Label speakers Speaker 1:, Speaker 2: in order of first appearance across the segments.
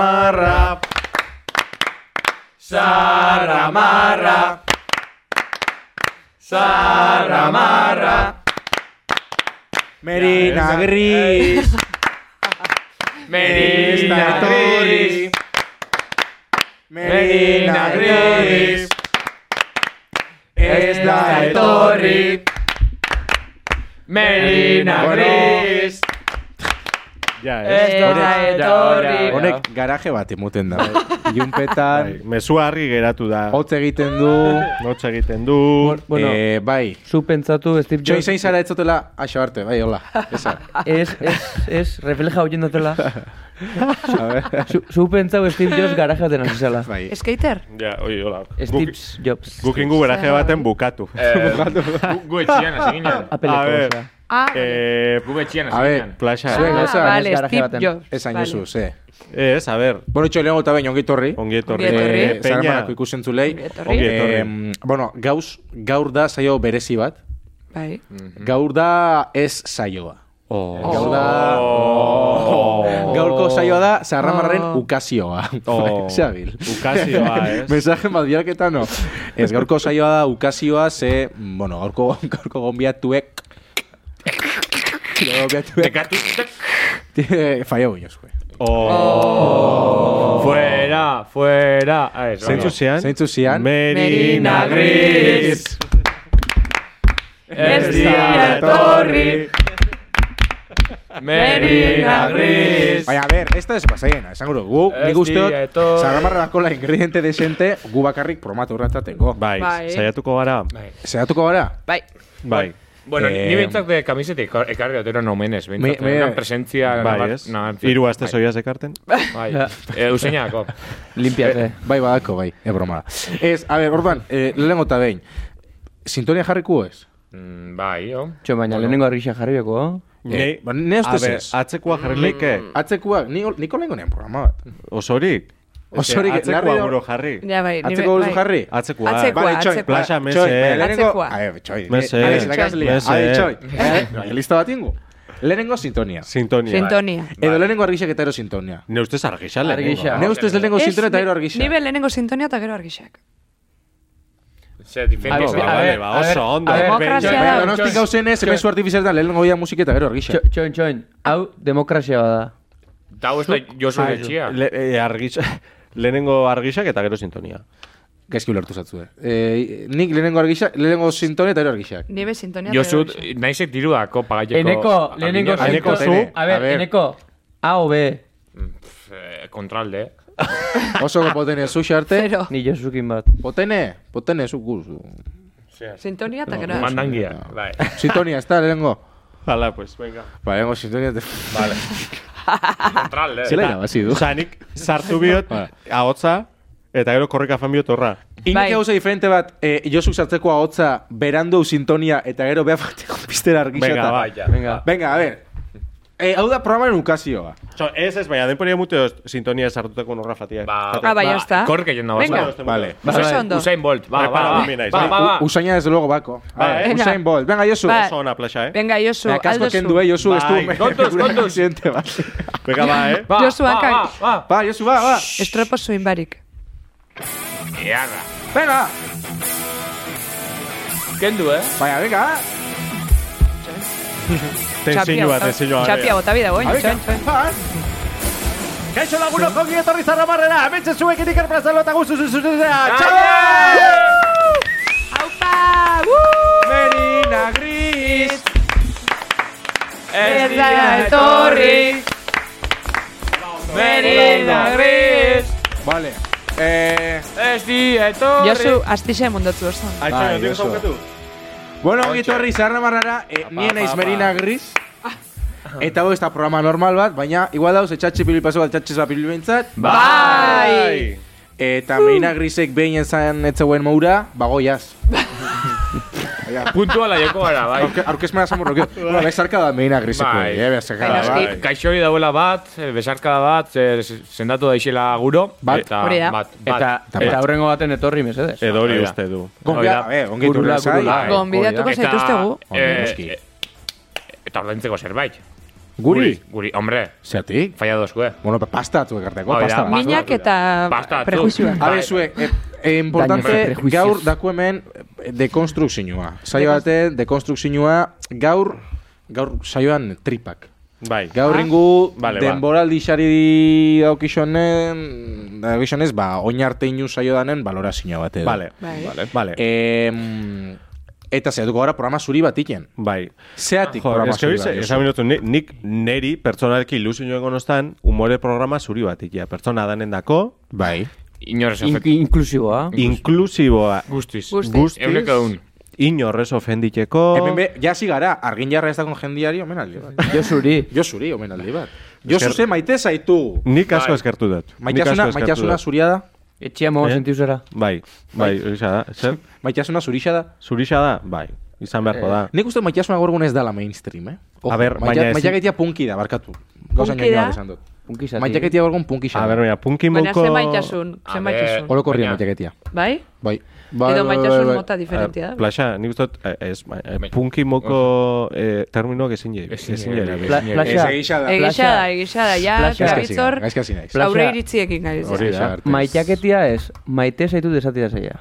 Speaker 1: Ramarra. Zarramarra. Zarramarra. Merina gris. Merina gris. Merina gris. Ez da etorri. Merina gris.
Speaker 2: Ja,
Speaker 3: Eh,
Speaker 1: Ez
Speaker 2: ez?
Speaker 1: da
Speaker 2: Honek-
Speaker 1: etorri.
Speaker 2: Honek
Speaker 4: garaje bat imuten da. Iunpetan,
Speaker 2: bai, mezua argi geratu da.
Speaker 4: hotz egiten du.
Speaker 2: Notz egiten du.
Speaker 5: Bueno.
Speaker 4: eh, bai.
Speaker 5: Zu pentsatu Steve
Speaker 4: Txoi
Speaker 5: Jobs
Speaker 4: zein zara ez zutela aso arte, bai, hola. Esa.
Speaker 5: es, es, es, refleja oyéndotela.
Speaker 4: A ver.
Speaker 5: Zu, zu pentsatu Steve Jobs garaja den azizela.
Speaker 4: Bai.
Speaker 6: Skater?
Speaker 2: Ja, oi, hola.
Speaker 5: Steve
Speaker 2: Guk-
Speaker 5: Jobs.
Speaker 2: Guk ingu beraje baten bukatu.
Speaker 3: Eh, gu- Gu etxian hasi ginen.
Speaker 5: Apeleko,
Speaker 2: A ver.
Speaker 5: osea.
Speaker 6: Ah,
Speaker 2: Eh,
Speaker 3: Gu etxian
Speaker 4: A
Speaker 3: hasi
Speaker 4: ver,
Speaker 3: ginen.
Speaker 2: plaxa.
Speaker 4: Zuen
Speaker 6: ah,
Speaker 4: gauza,
Speaker 6: vale,
Speaker 5: ez garaje
Speaker 6: Steve
Speaker 5: baten.
Speaker 6: Jobs.
Speaker 4: Ez
Speaker 6: vale.
Speaker 4: hainozu, ze.
Speaker 2: Ez, a ber,
Speaker 4: Bueno, itxo, lehenko eta baino, ongi etorri.
Speaker 2: ongi etorri.
Speaker 6: Ongi etorri.
Speaker 2: Eh,
Speaker 4: Eh,
Speaker 2: Peña,
Speaker 4: Zaramarrako ikusentzulei.
Speaker 6: Ongi etorri.
Speaker 2: Ongi etorri.
Speaker 4: Em, bueno, gauz, gaur da saio berezi bat.
Speaker 6: Bai.
Speaker 4: Gaur da ez saioa.
Speaker 2: Oh.
Speaker 4: Gaur Oh. da... Oh. Gaurko saioa da, zarramarren
Speaker 6: Oh.
Speaker 4: ukazioa.
Speaker 2: Oh.
Speaker 4: Xabil.
Speaker 2: Ukazioa, ez?
Speaker 4: Mensaje bat bialketa, no. Ez, gaurko saioa da ukazioa, ze, bueno, gaurko, gaurko gombiatuek... Gombiatuek...
Speaker 3: Tekatu.
Speaker 4: Faia guiñoz, güey.
Speaker 2: Oh.
Speaker 3: Fuera, fuera. Ah, ez,
Speaker 2: Zeintzu
Speaker 3: bai,
Speaker 2: zian?
Speaker 4: Zeintzu zian?
Speaker 2: Merina
Speaker 6: Merina
Speaker 2: Gris.
Speaker 3: bai.
Speaker 6: Ez dira etorri.
Speaker 3: Merina Gris.
Speaker 4: Baina, a ver, esta es basaiena, esan gure, gu,
Speaker 3: Ez
Speaker 4: nik usteot,
Speaker 3: dira etorri.
Speaker 4: zarramarrako la ingrediente desente, gu bakarrik promatu ratateko.
Speaker 2: Bai,
Speaker 6: Bai.
Speaker 2: saiatuko gara.
Speaker 3: Bai.
Speaker 4: Zeratuko gara?
Speaker 6: Bai.
Speaker 2: Bai.
Speaker 3: Bueno,
Speaker 4: Eh,
Speaker 3: ni bintzak de kamisetik ekar- ekarri dut eran omenez, bintzak.
Speaker 4: Me- me-
Speaker 3: Una presentzia...
Speaker 2: Bai,
Speaker 3: nabar-
Speaker 2: ez?
Speaker 3: nabartzen.
Speaker 2: Hiru
Speaker 4: este
Speaker 2: aste
Speaker 3: Bai,
Speaker 2: soiaz ekarten?
Speaker 3: Bai, Eh, Euseniako.
Speaker 5: Limpiate.
Speaker 4: Bai, badako, bai, e broma. Ez, a ber, orduan, eh, lehenko eta behin. Sintonia jarriko ez?
Speaker 3: Mm, Bai, jo.
Speaker 5: Txo, baina lehenengo argisa jarri oh? beko,
Speaker 4: Eh, ba, ne
Speaker 2: A
Speaker 4: ustez
Speaker 2: ber,
Speaker 4: ez. Mm.
Speaker 2: atzekoa jarri leike.
Speaker 4: Atzekoak, ni, niko lehenko nean programa bat.
Speaker 2: Osorik.
Speaker 4: Osorik,
Speaker 2: atzekoa
Speaker 4: larri hor-
Speaker 2: guro jarri.
Speaker 6: Ja, bai. ni
Speaker 4: Atzeko
Speaker 6: be-
Speaker 4: duzu
Speaker 6: bai.
Speaker 4: jarri?
Speaker 2: Atzekoa.
Speaker 6: Atzekoa.
Speaker 4: Vale, txoi,
Speaker 2: Plaza, mese.
Speaker 4: baina lehenengo-
Speaker 6: Atzekoa.
Speaker 4: A ver, txoi.
Speaker 2: Mese.
Speaker 4: A ver, irakaslia.
Speaker 2: Mese.
Speaker 4: A ver, txoi. Eh, Lista bat ingo. Lehenengo sintonia.
Speaker 2: Sintonia.
Speaker 6: Sintonia.
Speaker 4: Edo lehenengo argixak eta ero sintonia.
Speaker 2: Ne ustez argisa lehenengo,
Speaker 5: Argisa.
Speaker 2: no?
Speaker 4: Ne ustez lehenengo
Speaker 6: Ez,
Speaker 4: sintonia eta ero
Speaker 6: ni-
Speaker 4: argixak.
Speaker 6: Nibe lehenengo sintonia eta gero argixak.
Speaker 3: Se diferente.
Speaker 2: Ba, ba,
Speaker 5: ver,
Speaker 2: ba,
Speaker 5: a ver,
Speaker 2: oso ondo.
Speaker 5: a ver,
Speaker 6: Demokrazia
Speaker 4: Baina,
Speaker 6: da.
Speaker 4: donostik hau zen ez, emezu artifizialetan lehenengo ia musik eta gero argixak.
Speaker 5: Txoin, txoin, hau demokrasia bada.
Speaker 3: Dau ez da Josu etxia.
Speaker 2: Le, eh, argisa, lehenengo argisak eta gero sintonia.
Speaker 4: Gaizki ulertu zatzu, eh. Eh, nik lehenengo argixak, lehenengo sintonia eta ero argixak.
Speaker 6: Nibe sintonia eta
Speaker 3: Josu,
Speaker 6: gero argixak.
Speaker 3: naizek dirudako pagaieko...
Speaker 5: Eneko, lehenengo
Speaker 3: adina-
Speaker 2: Eneko
Speaker 5: sinto-
Speaker 2: zu?
Speaker 5: A
Speaker 4: A
Speaker 5: ver,
Speaker 4: ver.
Speaker 5: eneko, A o B.
Speaker 3: Eh, Kontralde.
Speaker 4: Oso potene zu xarte.
Speaker 6: Zero.
Speaker 5: Ni Josukin bat.
Speaker 4: Potene, potene zu guz.
Speaker 6: Sintonia eta gero argixak.
Speaker 3: Mandangia. Bai.
Speaker 4: Sintonia, ez da, lehenengo.
Speaker 2: Hala, pues, venga.
Speaker 4: Ba, lehenengo sintonia. te-
Speaker 3: Vale. Kontralde.
Speaker 4: Zela irabazi du.
Speaker 2: Osa, nik sartu biot, ahotza, eta gero korrika fan biot horra.
Speaker 4: Inik
Speaker 6: Bai.
Speaker 4: gauza diferente bat, eh, Josu sartzeko ahotza, berandu sintonia, eta gero beha fateko piztera argixa.
Speaker 2: Venga,
Speaker 4: eta-
Speaker 2: ba.
Speaker 5: Venga.
Speaker 4: Venga, a ver. Eh, hau da programaren ukazioa.
Speaker 2: Osa, ez ez, baina denporia muteo sintonia sartuteko norra fatia.
Speaker 3: Ba,
Speaker 6: Ah, bai, ya está.
Speaker 3: Korrika jenda
Speaker 6: Venga.
Speaker 3: bat.
Speaker 4: Vale.
Speaker 5: Ba,
Speaker 6: Oso
Speaker 5: bai.
Speaker 6: ondo.
Speaker 3: Usain Bolt. Ba,
Speaker 2: Prepara,
Speaker 3: ba,
Speaker 2: mi
Speaker 3: ba.
Speaker 2: naiz.
Speaker 3: Ba, ba, ba.
Speaker 4: U- Usaina desde luego bako. A
Speaker 6: Bai,
Speaker 2: Ba,
Speaker 4: ver,
Speaker 2: eh.
Speaker 4: Usain Bolt. Venga, Josu.
Speaker 6: Ba.
Speaker 2: Oso ona plaxa, eh?
Speaker 6: Venga, Josu,
Speaker 4: Venga, kasko kendu,
Speaker 6: alduzu.
Speaker 4: eh, Josu, ez du.
Speaker 2: Bai.
Speaker 3: Kontuz, kontuz.
Speaker 4: Presidente bat.
Speaker 2: Venga, ba, eh?
Speaker 3: Ba,
Speaker 6: Josu
Speaker 3: ba,
Speaker 6: Akai.
Speaker 3: ba, ba.
Speaker 4: Ba, Josu, ba, ba.
Speaker 6: Estropo zuin barik.
Speaker 3: Earra.
Speaker 4: Venga.
Speaker 3: Kendu, eh?
Speaker 4: Baina, venga.
Speaker 2: Tensiño bat, tensiño bat.
Speaker 6: Txapia, bota bida,
Speaker 4: A
Speaker 6: boin.
Speaker 4: ver,
Speaker 6: Txoin, txoin.
Speaker 4: ba.
Speaker 2: Kaixo lagunok, ongi etorri zarramarrera! Ametxe zuek inikar plazalo eta guztu zuzuzuzuzea!
Speaker 6: Aupa! Woo!
Speaker 4: Merina Gris.
Speaker 6: Ez da etorri.
Speaker 3: Merina Gris.
Speaker 4: Vale. Eh,
Speaker 3: Ez di etorri.
Speaker 6: Josu, astixe mundotzu oso.
Speaker 2: Aitxo,
Speaker 4: Bai,
Speaker 2: nondik
Speaker 4: oso.
Speaker 2: zaukatu?
Speaker 4: bueno, ongi torri zarramarrara, eh, nien naiz
Speaker 3: apa.
Speaker 4: Merina Gris. Eta hau ez da programa normal bat, baina igual dauz etxatxe pili paso bat, etxatxe zapili bintzat.
Speaker 3: Ba.
Speaker 2: Bai!
Speaker 4: Eta Merina Grisek behin ezan etzeuen moura, ba, bagoiaz.
Speaker 3: Puntuala joko gara, bai.
Speaker 4: Aurke- Aurkezmena zamurrokio. Bueno, bezarka da Merina Griseko.
Speaker 3: Bai.
Speaker 4: Eh, bezarka da,
Speaker 6: Bai,
Speaker 4: bai.
Speaker 6: noski.
Speaker 3: Kaixori dauela bat, eh, besarkada bat, eh, sendatu daixela guro.
Speaker 4: Bat.
Speaker 3: Eta,
Speaker 6: Hori da.
Speaker 3: bat, bat.
Speaker 5: Eta, eta horrengo baten etorri, mesedez.
Speaker 2: Edori
Speaker 3: Hori da.
Speaker 2: uste du.
Speaker 4: Gombia, eh, ongi
Speaker 5: Gurula,
Speaker 4: turri zai.
Speaker 5: gurula.
Speaker 4: Bai.
Speaker 6: Gonbidatuko
Speaker 3: Eta,
Speaker 6: zaituztegu.
Speaker 4: Hombre,
Speaker 3: eh,
Speaker 4: noski.
Speaker 3: eh, Eta ordaintzeko zerbait.
Speaker 4: Guri?
Speaker 3: Guri, hombre,
Speaker 4: Zeatik?
Speaker 3: faia dozue.
Speaker 4: Bueno, pa- pasta zuek arteko,
Speaker 3: Hori da,
Speaker 4: pasta.
Speaker 3: ba-
Speaker 6: Minak eta
Speaker 3: Basta, zu.
Speaker 6: prejuizioak.
Speaker 4: A
Speaker 3: bai.
Speaker 4: ber, zuek, eh, eh,
Speaker 5: Daños y
Speaker 4: importante,
Speaker 5: prejuicios.
Speaker 4: gaur dako hemen eh, dekonstrukzioa. Saio baten dekonstrukzioa gaur gaur saioan tripak.
Speaker 3: Bai.
Speaker 4: Gaur ingu
Speaker 3: Vale, ba.
Speaker 4: denboraldi sari daukizonen, daukizonez, ba, oin arte inu saio danen balorazioa bat edo.
Speaker 3: Vale,
Speaker 6: Bai.
Speaker 3: vale, vale.
Speaker 4: Eh, Em, eta zehatuko gara programa zuri bat iken.
Speaker 2: Bai.
Speaker 3: Ah,
Speaker 4: Zeatik
Speaker 2: Jo,
Speaker 4: programa
Speaker 2: eske
Speaker 4: zuri
Speaker 2: hori ze-
Speaker 4: bat.
Speaker 2: esan
Speaker 4: diozu.
Speaker 2: minutu, ni- nik neri pertsonalki ilusioen gonostan, humore programa zuri bat ikia. Pertsona danen dako,
Speaker 4: Bai.
Speaker 3: Inorez
Speaker 5: In
Speaker 3: ofet.
Speaker 5: inklusiboa.
Speaker 2: inklusiboa
Speaker 3: Guztiz.
Speaker 6: Guztiz.
Speaker 2: guztiz,
Speaker 3: Euneko eun.
Speaker 2: inorrez ofenditeko,
Speaker 4: Hemen be, jasi gara, argin jarra ez dakon jendiari omenaldi bat.
Speaker 5: Yo zuri.
Speaker 4: Jo zuri, omenaldi bat. Jo zuze maite zaitu.
Speaker 2: nik asko
Speaker 3: Bai.
Speaker 2: eskertu dut. Nik
Speaker 4: Maitasuna,
Speaker 2: asko eskertu
Speaker 4: maitasuna
Speaker 2: dut.
Speaker 4: zuria da.
Speaker 5: Etxia mogo
Speaker 2: Eh?
Speaker 5: sentiu zara.
Speaker 2: Bai, bai, horixa da. Zer,
Speaker 4: Maitasuna zurixa da.
Speaker 2: zurixa da, bai, izan beharko da.
Speaker 3: Eh,
Speaker 4: Nik uste maitasuna gaur egun ez dala mainstream, eh?
Speaker 2: A ber, baina
Speaker 4: maia,
Speaker 2: ezin-
Speaker 4: maia gaitia punki da, barkatu. Gauza
Speaker 6: Punki
Speaker 4: nioen
Speaker 6: da?
Speaker 4: bat esan dut.
Speaker 5: Punki zati.
Speaker 4: Maia gaitia gaur egun punki
Speaker 2: A bai.
Speaker 4: xan.
Speaker 2: ber, mira, punkin Eh,
Speaker 6: Baina
Speaker 2: buko...
Speaker 6: ze maitasun,
Speaker 3: A
Speaker 6: ze
Speaker 3: ber,
Speaker 6: maitasun.
Speaker 4: Olo korrian
Speaker 3: Baina-
Speaker 4: maia gaitia.
Speaker 6: Bai?
Speaker 4: Bai. Bai,
Speaker 6: Edo
Speaker 4: bai,
Speaker 6: maitasun
Speaker 4: bai,
Speaker 6: mota
Speaker 2: Eh,
Speaker 6: diferentia da.
Speaker 2: Plaxa, nik uste, dut, eh, ez, ma- eh,
Speaker 3: Bai.
Speaker 2: punkin moko eh, terminoak ezin jeri.
Speaker 3: Ezin
Speaker 2: Ezin
Speaker 3: jeri.
Speaker 2: jeri.
Speaker 3: Pla-
Speaker 4: Ez
Speaker 5: Plaxa,
Speaker 4: egisa da.
Speaker 6: Egisa da, egisa da, ja,
Speaker 5: Plaza-
Speaker 6: Gabitzor,
Speaker 4: Gaizkazi naiz.
Speaker 5: Plaza-
Speaker 6: aurre iritziekin gari
Speaker 4: Hori
Speaker 6: zara.
Speaker 4: da.
Speaker 5: Pues- maitaketia ez, maite zaitu desatia zaila.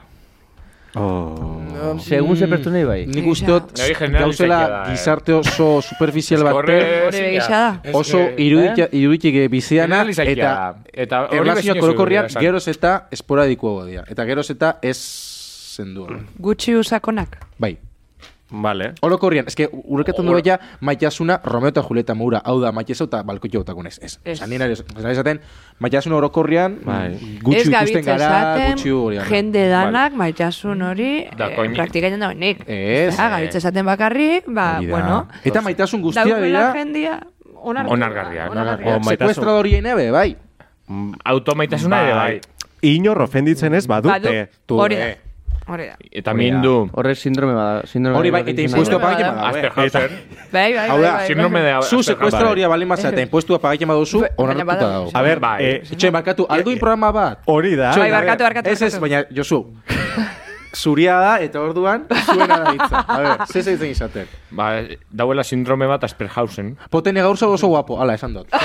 Speaker 2: Oh.
Speaker 5: Segun ze pertsonei bai.
Speaker 4: Nik uste dut
Speaker 3: Nori general
Speaker 4: gauzela
Speaker 3: izaitia da, eh.
Speaker 4: gizarte oso superficial baten
Speaker 6: Hori begisa da.
Speaker 4: oso iruditia- iruditik biziana eta
Speaker 3: eta
Speaker 4: erlazio
Speaker 3: bezin
Speaker 4: korokorriak
Speaker 3: zuen,
Speaker 4: geroz eta esporadikoago dira. Eta geroz eta ez zendua.
Speaker 6: Gutxi usakonak.
Speaker 4: Bai.
Speaker 2: Vale.
Speaker 4: Orokorrian, eske urreketan
Speaker 3: Oro-
Speaker 4: dure ja maitasuna Romeo eta Julieta Moura, hau da maitesa eta balkotxo botakunez. Ez.
Speaker 6: Ez.
Speaker 4: Esan nire, esaten, maitasuna orokorrian
Speaker 2: Bai.
Speaker 4: gutxi
Speaker 6: Ez
Speaker 4: ikusten
Speaker 6: gabiltza
Speaker 4: gara,
Speaker 6: esaten,
Speaker 4: gutxi hori. gara.
Speaker 6: jende danak, maitasun hori,
Speaker 3: Da,
Speaker 6: eh,
Speaker 3: koin-
Speaker 6: praktikatzen dagoen nik.
Speaker 4: Ez.
Speaker 6: Ja, gabiltza esaten bakarri, ba,
Speaker 4: Hori da.
Speaker 6: bueno.
Speaker 4: Eta maitasun guztia
Speaker 6: Daukela
Speaker 4: dira,
Speaker 6: jendia onargarria.
Speaker 3: Onargarria,
Speaker 2: onargarria. O Oh, maitasun.
Speaker 4: sekuestradorien ebe, bai.
Speaker 3: Automaitasuna ere bai. eh.
Speaker 2: Inor ofenditzen ez badute.
Speaker 6: Badu- Hori da. Hori da.
Speaker 3: Eta mindu.
Speaker 5: Horre sindrome bada. Sindrome
Speaker 4: Hori bai,
Speaker 5: baten
Speaker 4: eta
Speaker 5: izena
Speaker 4: impuestu
Speaker 5: da.
Speaker 4: apagaiten badago. eh.
Speaker 3: Asperhausen.
Speaker 6: Bai, bai,
Speaker 4: Hau
Speaker 6: bai,
Speaker 4: da,
Speaker 6: bai,
Speaker 3: Síndrome
Speaker 6: bai.
Speaker 3: de
Speaker 4: Zu sekuestra hori balima eta impuestu apagaiten baduzu,
Speaker 6: Eh. Baina
Speaker 4: onartuta
Speaker 6: badago.
Speaker 4: dago.
Speaker 2: A ber,
Speaker 3: Bai.
Speaker 2: eh,
Speaker 4: Etxe, barkatu, alduin programa bat.
Speaker 2: hori da.
Speaker 6: Bai, barkatu, barkatu.
Speaker 4: Ez ez,
Speaker 6: barkatu.
Speaker 4: baina, Josu, zuria da, eta orduan, zuena da hitza. A ber, ze zaitzen izaten.
Speaker 3: Ba, dauela sindrome bat Asperhausen.
Speaker 4: Potene gaur oso guapo, ala, esan dut.
Speaker 6: Eh.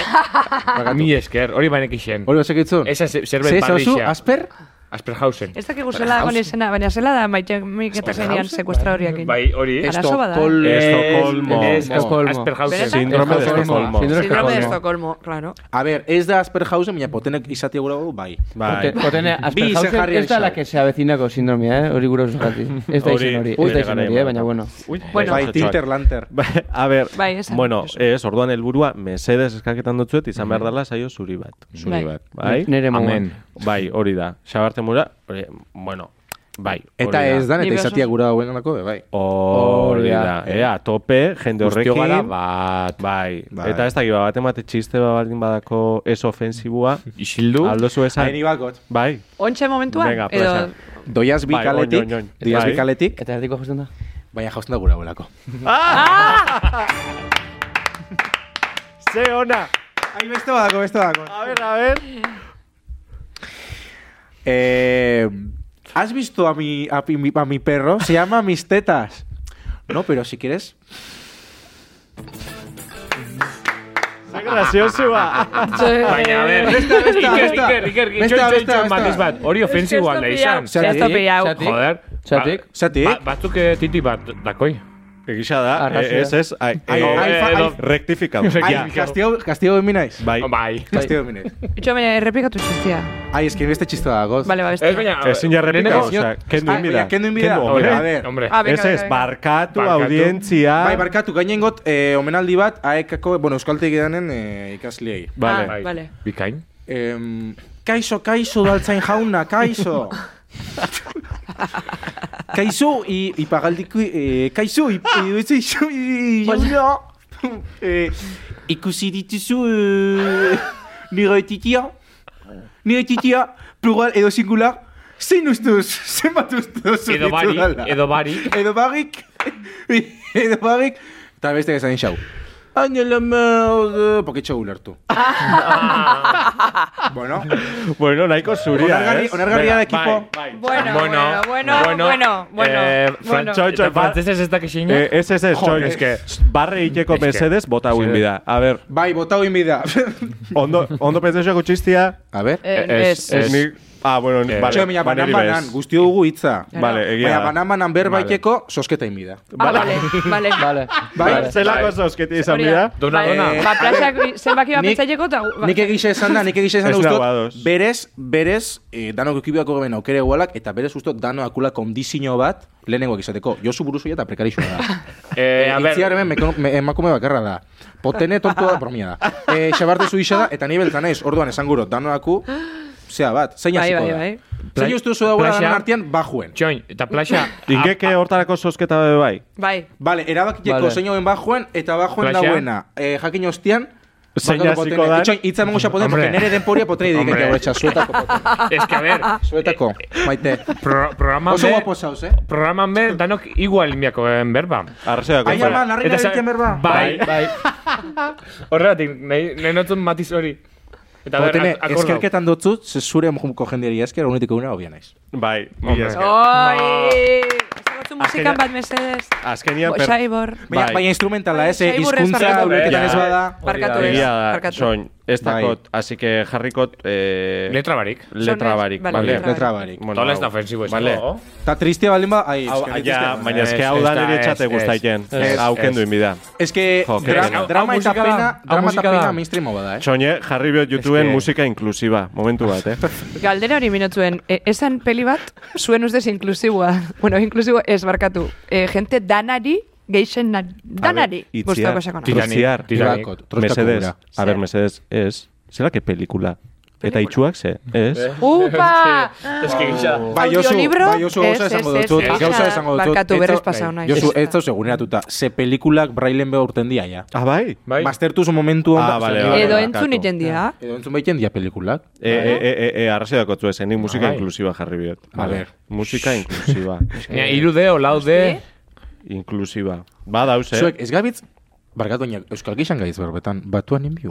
Speaker 3: Mi esker, hori banek isen.
Speaker 4: Hori basek itzun.
Speaker 3: Esa ze- zerbait
Speaker 4: Ze ezazu,
Speaker 3: barrixea.
Speaker 4: asper?
Speaker 3: Asperhausen.
Speaker 6: Ez dakigu zela dagoen izena, baina zela da maite miketa zenian sekuestra horiakin.
Speaker 3: Bai, hori.
Speaker 6: Arazo bada. eh.
Speaker 4: Estocolmo.
Speaker 2: Estocolmo.
Speaker 4: Estocolmo.
Speaker 3: Asperhausen.
Speaker 6: Benetan?
Speaker 2: Síndrome de
Speaker 5: Estocolmo.
Speaker 2: Estocolmo.
Speaker 5: Síndrome de
Speaker 6: Síndrome de
Speaker 5: Estocolmo.
Speaker 6: Estocolmo, claro.
Speaker 4: A ber, ez da Asperhausen, baina potenek izatea gura du, bai.
Speaker 2: Bai.
Speaker 5: Ote- Otene,
Speaker 4: izen
Speaker 5: Asperhausen
Speaker 4: jarri
Speaker 5: ez da la
Speaker 4: izan.
Speaker 5: que se avecinako sindromia, eh? Hori gura oso jati. Ez da
Speaker 2: Hori-
Speaker 5: izen hori,
Speaker 2: hori
Speaker 5: ez da izen
Speaker 2: garaia
Speaker 5: hori, eh?
Speaker 2: bada.
Speaker 5: Baina bueno.
Speaker 3: eh,
Speaker 6: Bueno.
Speaker 4: Bai, Tinter Lanter.
Speaker 2: Bai, A ber,
Speaker 6: Bai, esan,
Speaker 2: bueno,
Speaker 6: Josu.
Speaker 2: ez, orduan helburua mesedes eskaketan dutzuet izan behar dela saio zuri bat.
Speaker 6: Bai.
Speaker 2: Bai?
Speaker 5: Nere moguan.
Speaker 3: Amen.
Speaker 2: Bai, hori da. Xabarte mura, hori, bueno, bai, hori
Speaker 4: Eta ez dan,
Speaker 6: Nire
Speaker 4: eta
Speaker 6: oso-
Speaker 4: izatea gura dauen onako, bai.
Speaker 2: Hori da.
Speaker 4: eh.
Speaker 2: Ea, tope, jende
Speaker 3: Guztio
Speaker 2: horrekin.
Speaker 3: gara bat.
Speaker 2: Bai.
Speaker 4: Bai.
Speaker 2: Eta ez da, giba, bat emate txiste bat baldin badako ez ofensibua.
Speaker 3: Isildu.
Speaker 2: Aldo zu esan.
Speaker 4: Haini bakot.
Speaker 2: Bai.
Speaker 6: Ontxe momentuan,
Speaker 2: Venga,
Speaker 6: edo
Speaker 2: plaza.
Speaker 4: Doiaz
Speaker 2: Bai,
Speaker 4: bikaletik,
Speaker 2: oin, oin, oin.
Speaker 4: doiaz
Speaker 2: Bai.
Speaker 4: bikaletik,
Speaker 5: Eta erdiko josten da.
Speaker 4: baina jausten da gura dagoelako.
Speaker 2: Ze ona.
Speaker 4: Ai, beste badako, beste badako.
Speaker 2: A ber, a ber.
Speaker 4: Eh, ¿Has visto a mi, a, mi, a mi perro? Se llama Mis Tetas. No, pero si quieres...
Speaker 2: Ze graziosua.
Speaker 3: Ah, Baina, a ber, Iker, Iker, Iker, Iker,
Speaker 4: Besta,
Speaker 3: itxoin,
Speaker 4: besta,
Speaker 3: itxoin
Speaker 4: besta.
Speaker 3: matiz bat. Hori ofensiboan da izan.
Speaker 6: Se esto pillado.
Speaker 5: Zati.
Speaker 3: Joder.
Speaker 5: Zatik.
Speaker 3: Ba-
Speaker 4: Zatik.
Speaker 3: ba- Batzuk eh, titi bat dakoi.
Speaker 2: Egisa da,
Speaker 5: Arrazia.
Speaker 2: eh, ez ez, ai,
Speaker 4: Ai,
Speaker 2: eh,
Speaker 4: ai, fa-
Speaker 2: edo
Speaker 4: ai.
Speaker 2: rectificamos.
Speaker 3: Ai,
Speaker 2: Ja.
Speaker 4: Ay, castigo, castigo de Minais.
Speaker 2: Bai.
Speaker 3: Oh, Bai.
Speaker 4: Castigo de Minais.
Speaker 6: Itxo, baina errepikatu txistia.
Speaker 4: Ay, es que este chiste da goz.
Speaker 6: Bale, ba, beste.
Speaker 3: Ez baina...
Speaker 2: Ezin ja repika,
Speaker 3: lehenengo-
Speaker 2: o sea, kendu
Speaker 4: Ah,
Speaker 2: inbida.
Speaker 4: baina kendu inbida.
Speaker 2: hombre.
Speaker 4: A ber.
Speaker 3: Hombre.
Speaker 6: Ah,
Speaker 2: Ez
Speaker 6: venga,
Speaker 2: ez,
Speaker 6: venga, venga.
Speaker 2: barkatu
Speaker 3: Barkatu.
Speaker 2: audientzia.
Speaker 4: Bai, barkatu, gainengot eh, omenaldi bat aekako, bueno, euskaltegi danen eh, ikasliei.
Speaker 2: Vale.
Speaker 6: Ah, vale.
Speaker 3: Bikain.
Speaker 4: Em, kaixo, kaixo, udaltzain jauna, kaixo! kaixo, i, ipagaldiko, eh, kaixo,
Speaker 3: Ah!
Speaker 4: ip- iruditzen zaizu, i- jauna! Eh, Ikusi dituzu eh, nire titia, nire titia, plural edo singular, zein ustuz, zenbat ustuz
Speaker 3: Edo bari,
Speaker 4: ditudala?
Speaker 3: edo bari.
Speaker 4: edo barrik, edo barrik, eta beste gazan xau. Angela Merkel, poketxo ulertu.
Speaker 3: Ah.
Speaker 4: bueno,
Speaker 2: Bueno, nahiko zuria,
Speaker 4: onargarri,
Speaker 2: ez?
Speaker 4: onargarria da ekipo.
Speaker 6: Bueno, bueno, bueno, bueno, bueno,
Speaker 3: Ah, eh,
Speaker 6: bueno.
Speaker 3: Frantxo-
Speaker 2: Txo, txo,
Speaker 3: eta frantsesez ez dakit xina.
Speaker 2: Eh, ez, ez, ez,
Speaker 3: Jo,
Speaker 2: txoi,
Speaker 3: es que-
Speaker 2: barre iteko
Speaker 3: Es que-
Speaker 2: mesedez, bota
Speaker 3: Sí.
Speaker 2: huin bida. A ber,
Speaker 4: Bai, botau inbida.
Speaker 2: ondo, ondo pentsatzeko txiztia,
Speaker 4: A ber.
Speaker 6: Eh,
Speaker 3: Ez,
Speaker 6: ez.
Speaker 2: ez ni... Ah, bueno,
Speaker 3: Eh,
Speaker 2: vale,
Speaker 4: Txo, mina,
Speaker 2: baneri
Speaker 4: banan,
Speaker 2: bez.
Speaker 4: banan, guzti dugu hitza.
Speaker 6: Claro.
Speaker 2: Vale, egia
Speaker 4: Baina,
Speaker 2: da.
Speaker 4: banan, banan berbaiteko sosketa inbida.
Speaker 6: Ah, vale, vale.
Speaker 5: Vale.
Speaker 4: Bai,
Speaker 5: vale.
Speaker 2: Zelako zozketi izan
Speaker 6: Hori
Speaker 2: dira.
Speaker 6: da.
Speaker 3: Dona,
Speaker 6: Vale.
Speaker 3: dona.
Speaker 6: Ba, plazak zenbaki bat
Speaker 4: Nik-
Speaker 6: pentsaileko eta... gu- ba-
Speaker 4: Nik egixe esan da, nik egixe esan da
Speaker 2: Ez
Speaker 4: ustot,
Speaker 2: nago ados.
Speaker 4: berez, berez, eh, danok ekibiako gaben aukere gualak, eta berez ustot dano akula kondizio bat lehenengoak izateko. Josu buruzuia eta prekarixua da.
Speaker 3: Eh, a
Speaker 4: Itziar
Speaker 3: ver,
Speaker 4: hemen meko- me- emakume bakarra da. Potene tontoa da bromia da. Eh, Xabarte zu da, eta ni beltza naiz, orduan esan guro, danoaku, zea bat, zein
Speaker 6: Bai,
Speaker 4: hasiko
Speaker 6: bai,
Speaker 4: da.
Speaker 6: bai.
Speaker 4: Zein uste duzu dagoela
Speaker 3: Plaxa.
Speaker 4: danon artean, bajuen.
Speaker 3: txoin, eta plaxa...
Speaker 2: Ingeke
Speaker 3: ah.
Speaker 2: hortarako zozketa be bai.
Speaker 6: Bai.
Speaker 4: Vale, erabakiteko
Speaker 5: Vale.
Speaker 4: zein hoen bajuen, eta bajuen
Speaker 3: Plaxa.
Speaker 4: dagoena. Eh, jakin ostean,
Speaker 2: Zein
Speaker 4: bakatu
Speaker 2: hasiko
Speaker 4: potene.
Speaker 2: dan?
Speaker 4: Itxoin, hitza emango xa potene,
Speaker 3: Hombre.
Speaker 4: porque nere denporia potene
Speaker 3: Hombre.
Speaker 4: didikak etxa, zuetako potene.
Speaker 3: Es que, a ver...
Speaker 4: Zuetako, maite.
Speaker 3: Pro, programan
Speaker 4: Oso
Speaker 3: be-
Speaker 4: guapo zauz, eh?
Speaker 3: Programan be, danok igual imiako eh, berba.
Speaker 2: Arzeako.
Speaker 4: Ai, ama, narri
Speaker 3: Eta sa-
Speaker 4: nabiltzen berba.
Speaker 3: Bai, bai. Horregatik, nahi, nahi notzun matiz hori. Eta ber,
Speaker 4: Potene,
Speaker 3: ak- akordo.
Speaker 4: eskerketan dotzut, ze zure mumuko jendeari esker, unetik eguna hobia naiz.
Speaker 2: Bai,
Speaker 3: Hombre. Oh,
Speaker 2: mila esker.
Speaker 6: Oi! Ezagutzu musikan bat, mesedez.
Speaker 2: Azkenian
Speaker 6: Bo-
Speaker 2: per-
Speaker 6: Saibor.
Speaker 4: Baina,
Speaker 2: Bai.
Speaker 4: baina instrumentala,
Speaker 6: Bai,
Speaker 4: ez, eh,
Speaker 6: Saiburrez
Speaker 4: hizkuntza
Speaker 6: barkatu.
Speaker 4: ulerketan
Speaker 2: Ja.
Speaker 4: ez bada.
Speaker 3: Bai.
Speaker 6: Barkatu ez.
Speaker 2: Egia da,
Speaker 6: barkatu.
Speaker 2: soin, ez dakot, así que jarrikot eh,
Speaker 3: Letra barik.
Speaker 2: letra
Speaker 6: Sones,
Speaker 2: barik.
Speaker 6: vale,
Speaker 2: Vale,
Speaker 6: letra
Speaker 4: Letra barik.
Speaker 2: Bueno,
Speaker 3: Tola ez da
Speaker 2: hau.
Speaker 3: ofensibo ez.
Speaker 2: Vale.
Speaker 3: dago.
Speaker 4: Ta tristia balin ba, ai,
Speaker 2: Hau,
Speaker 4: eske,
Speaker 2: ja,
Speaker 4: tristia.
Speaker 2: baina eske
Speaker 3: Ez,
Speaker 2: hau
Speaker 3: ez
Speaker 2: da
Speaker 3: da,
Speaker 2: nire
Speaker 3: ez,
Speaker 2: txate
Speaker 3: ez,
Speaker 2: guztaiten.
Speaker 3: ez,
Speaker 2: Hau
Speaker 3: ez.
Speaker 2: kendu inbida.
Speaker 4: Ez que
Speaker 2: Jo,
Speaker 4: dra-
Speaker 3: hau- hau
Speaker 4: drama eta
Speaker 3: musika da,
Speaker 4: pena,
Speaker 3: hau
Speaker 4: drama eta
Speaker 3: musika da.
Speaker 4: pena mainstreama bada, eh.
Speaker 2: Txone, jarri biot YouTubeen
Speaker 3: que-
Speaker 2: musika inklusiba. Momentu bat, eh?
Speaker 6: Galdera hori minotzuen, e, esan peli bat, zuen ustez inklusiboa. bueno, inklusiboa ez barkatu. E, gente danari, geixen na- danari. Gustatuko esako nahi.
Speaker 3: Titanic,
Speaker 2: Titanic.
Speaker 3: Titanic.
Speaker 4: Titanic. Trostakot, trostakot
Speaker 2: Mesedes.
Speaker 4: gura.
Speaker 2: A ver, Mesedes, ez. Zelake pelikula. Eta itxuak ze, ez?
Speaker 6: Upa!
Speaker 3: Ez que gisa.
Speaker 4: Bai, Josu,
Speaker 6: Audiolibro?
Speaker 4: bai, Josu, gauza
Speaker 6: Ez,
Speaker 4: esango
Speaker 6: ez, ez,
Speaker 4: dutut,
Speaker 6: ez.
Speaker 4: gauza esango dutut.
Speaker 6: Barkatu,
Speaker 4: Ez
Speaker 6: berriz
Speaker 4: zau-
Speaker 6: pasau naiz.
Speaker 4: Josu,
Speaker 6: Ez
Speaker 4: ez zau seguneratuta, ze pelikulak brailen behor urten dia, ja.
Speaker 2: Ah, bai?
Speaker 3: Bai.
Speaker 4: Mastertuz momentu
Speaker 2: Ah, vale, vale,
Speaker 6: Edo
Speaker 2: barkatu.
Speaker 6: entzun iten dira.
Speaker 4: Edo entzun behiten dia pelikulak.
Speaker 2: E, e, e, e, e, arrazio dakotzu ez, nik musika
Speaker 3: Ah, bai.
Speaker 2: inklusiba jarri biot.
Speaker 4: A ver.
Speaker 2: Musika inklusiba.
Speaker 3: Nia, irude,
Speaker 6: Bai.
Speaker 3: olaude...
Speaker 2: inklusiba. Ba, dauz, eh?
Speaker 4: Zuek, ez gabitz, barkatu niak, Euskal Gixan gaiz berbetan, batuan inbio.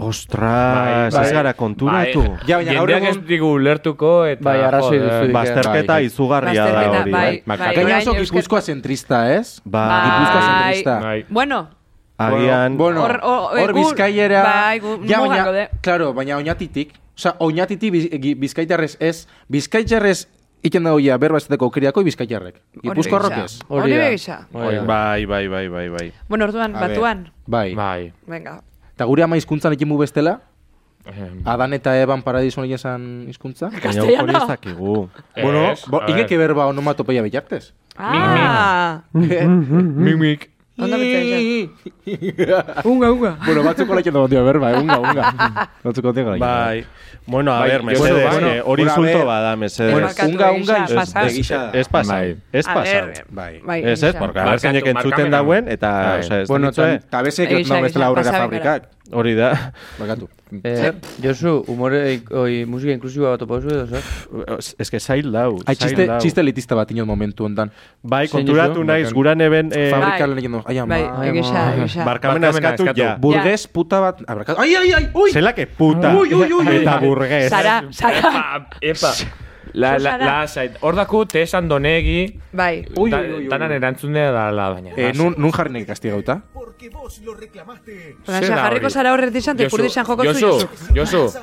Speaker 3: Bai,
Speaker 2: Ostras, ez
Speaker 3: bai.
Speaker 2: gara konturatu.
Speaker 3: Bai,
Speaker 4: Ja, baina gaur
Speaker 3: Jendeak ez
Speaker 4: egun-
Speaker 3: digu ulertuko eta...
Speaker 5: Bai, arrazoi
Speaker 3: joder.
Speaker 5: duzu.
Speaker 2: Bazterketa
Speaker 4: Bai.
Speaker 2: izugarria da
Speaker 6: Bazterketa,
Speaker 2: hori.
Speaker 6: bai,
Speaker 2: eh?
Speaker 6: bai.
Speaker 2: Makaka-
Speaker 4: Gaina
Speaker 6: orain
Speaker 4: oso
Speaker 6: Euskal-
Speaker 4: gipuzkoa zentrista, ez?
Speaker 2: Ba,
Speaker 4: Gipuzkoa
Speaker 6: Bai.
Speaker 4: zentrista.
Speaker 2: Bai.
Speaker 6: Bueno,
Speaker 2: agian...
Speaker 4: Bueno,
Speaker 6: Hor- hor-
Speaker 4: hor
Speaker 6: gu-
Speaker 4: bizkaiera...
Speaker 6: bai, gu- mugako de.
Speaker 4: baina, claro, baina oñatitik, oza, oñatitik biz, gi- bizkaitarrez ez, bizkaitarrez iten dago ja berba esteteko kiriako bizkaitarrek. Gipuzkoarrok ez.
Speaker 5: Hori
Speaker 6: Hori
Speaker 5: da.
Speaker 6: begisa.
Speaker 5: Hori da.
Speaker 2: Bai, bai, bai, bai, bai.
Speaker 6: Bueno, orduan,
Speaker 4: A ber,
Speaker 6: batuan.
Speaker 4: Bai.
Speaker 3: Bai.
Speaker 6: Venga.
Speaker 4: Eta gure ama hizkuntzan ekin mu bestela,
Speaker 3: Eh,
Speaker 4: Adan eta Eban paradizon egin esan hizkuntza.
Speaker 2: Baina guk hori ez dakigu.
Speaker 3: Bueno,
Speaker 4: Bo, ingeke berba onomatopeia bitartez.
Speaker 6: Ah!
Speaker 3: Mimik.
Speaker 6: Ondo betzen.
Speaker 4: unga, unga. bueno, batzuko laiken da batio berba, eh? unga, unga. batzuko laiken da
Speaker 2: Bai. Bueno, a
Speaker 3: Bai,
Speaker 2: ver,
Speaker 3: Josu,
Speaker 2: mesedes,
Speaker 3: bueno,
Speaker 2: eh,
Speaker 4: bueno,
Speaker 2: hori
Speaker 4: a
Speaker 2: insulto
Speaker 4: ver.
Speaker 2: bada,
Speaker 6: Bueno,
Speaker 2: mesedes.
Speaker 6: barkatu,
Speaker 4: unga, unga,
Speaker 6: egisa,
Speaker 4: ez-
Speaker 6: pasau.
Speaker 4: ez- egisa da.
Speaker 2: Ez pasa,
Speaker 3: Bai.
Speaker 2: ez
Speaker 6: A
Speaker 2: pasa.
Speaker 6: ber,
Speaker 4: Bai.
Speaker 6: bai,
Speaker 2: Ez ez,
Speaker 6: egisa.
Speaker 2: porque
Speaker 3: Barkatu,
Speaker 2: abertzainek entzuten
Speaker 3: barkamena.
Speaker 2: dauen, eta,
Speaker 3: Bai.
Speaker 2: osea, ez
Speaker 5: Bueno,
Speaker 2: dakitzu, eh?
Speaker 5: tan-
Speaker 4: Eta bezek ez
Speaker 6: Egisa,
Speaker 4: nau bestela
Speaker 6: egisa,
Speaker 4: aurrera
Speaker 6: pasa bekara.
Speaker 4: fabrikak.
Speaker 2: hori da,
Speaker 4: Bakatu.
Speaker 5: Eh, Josu, humore, oi, musika inklusiboa bat topa duzu edo, zer?
Speaker 2: ez que zail dau,
Speaker 4: Ai,
Speaker 2: zail
Speaker 4: txiste,
Speaker 2: dau.
Speaker 4: txiste elitista bat inot momentu ondan.
Speaker 2: Bai,
Speaker 5: Zein
Speaker 2: konturatu
Speaker 5: duzu?
Speaker 2: naiz, guran eben, eh,
Speaker 6: Bai.
Speaker 4: Fabrika lan egin du. Ai, ama.
Speaker 5: Ai,
Speaker 6: Bai, egisa,
Speaker 5: ma.
Speaker 6: egisa.
Speaker 2: barkamena
Speaker 3: Barkamena
Speaker 2: eskatu
Speaker 3: eskatu.
Speaker 2: ja.
Speaker 4: Burgez puta bat... Ah, barkatu. Ai, ai, ai! Ui!
Speaker 2: Zelake puta.
Speaker 4: Ui, ui, ui, ui.
Speaker 2: Eta burgez.
Speaker 6: Sara, Sara.
Speaker 3: Epa, epa. La, la,
Speaker 6: Zara.
Speaker 3: la, zait. Hor daku, te esan donegi,
Speaker 6: Bai.
Speaker 4: Ui,
Speaker 3: da-
Speaker 4: ui, ui, ui.
Speaker 3: danan erantzunea da la baina.
Speaker 4: Eh, nun, nun jarri nahi gazti gauta?
Speaker 6: Baina,
Speaker 3: Zer da
Speaker 6: jarriko
Speaker 3: hori?
Speaker 6: zara horret izan,
Speaker 3: Josu,
Speaker 6: tepurdizan joko zu,
Speaker 3: Josu,
Speaker 6: Josu.
Speaker 3: Josu,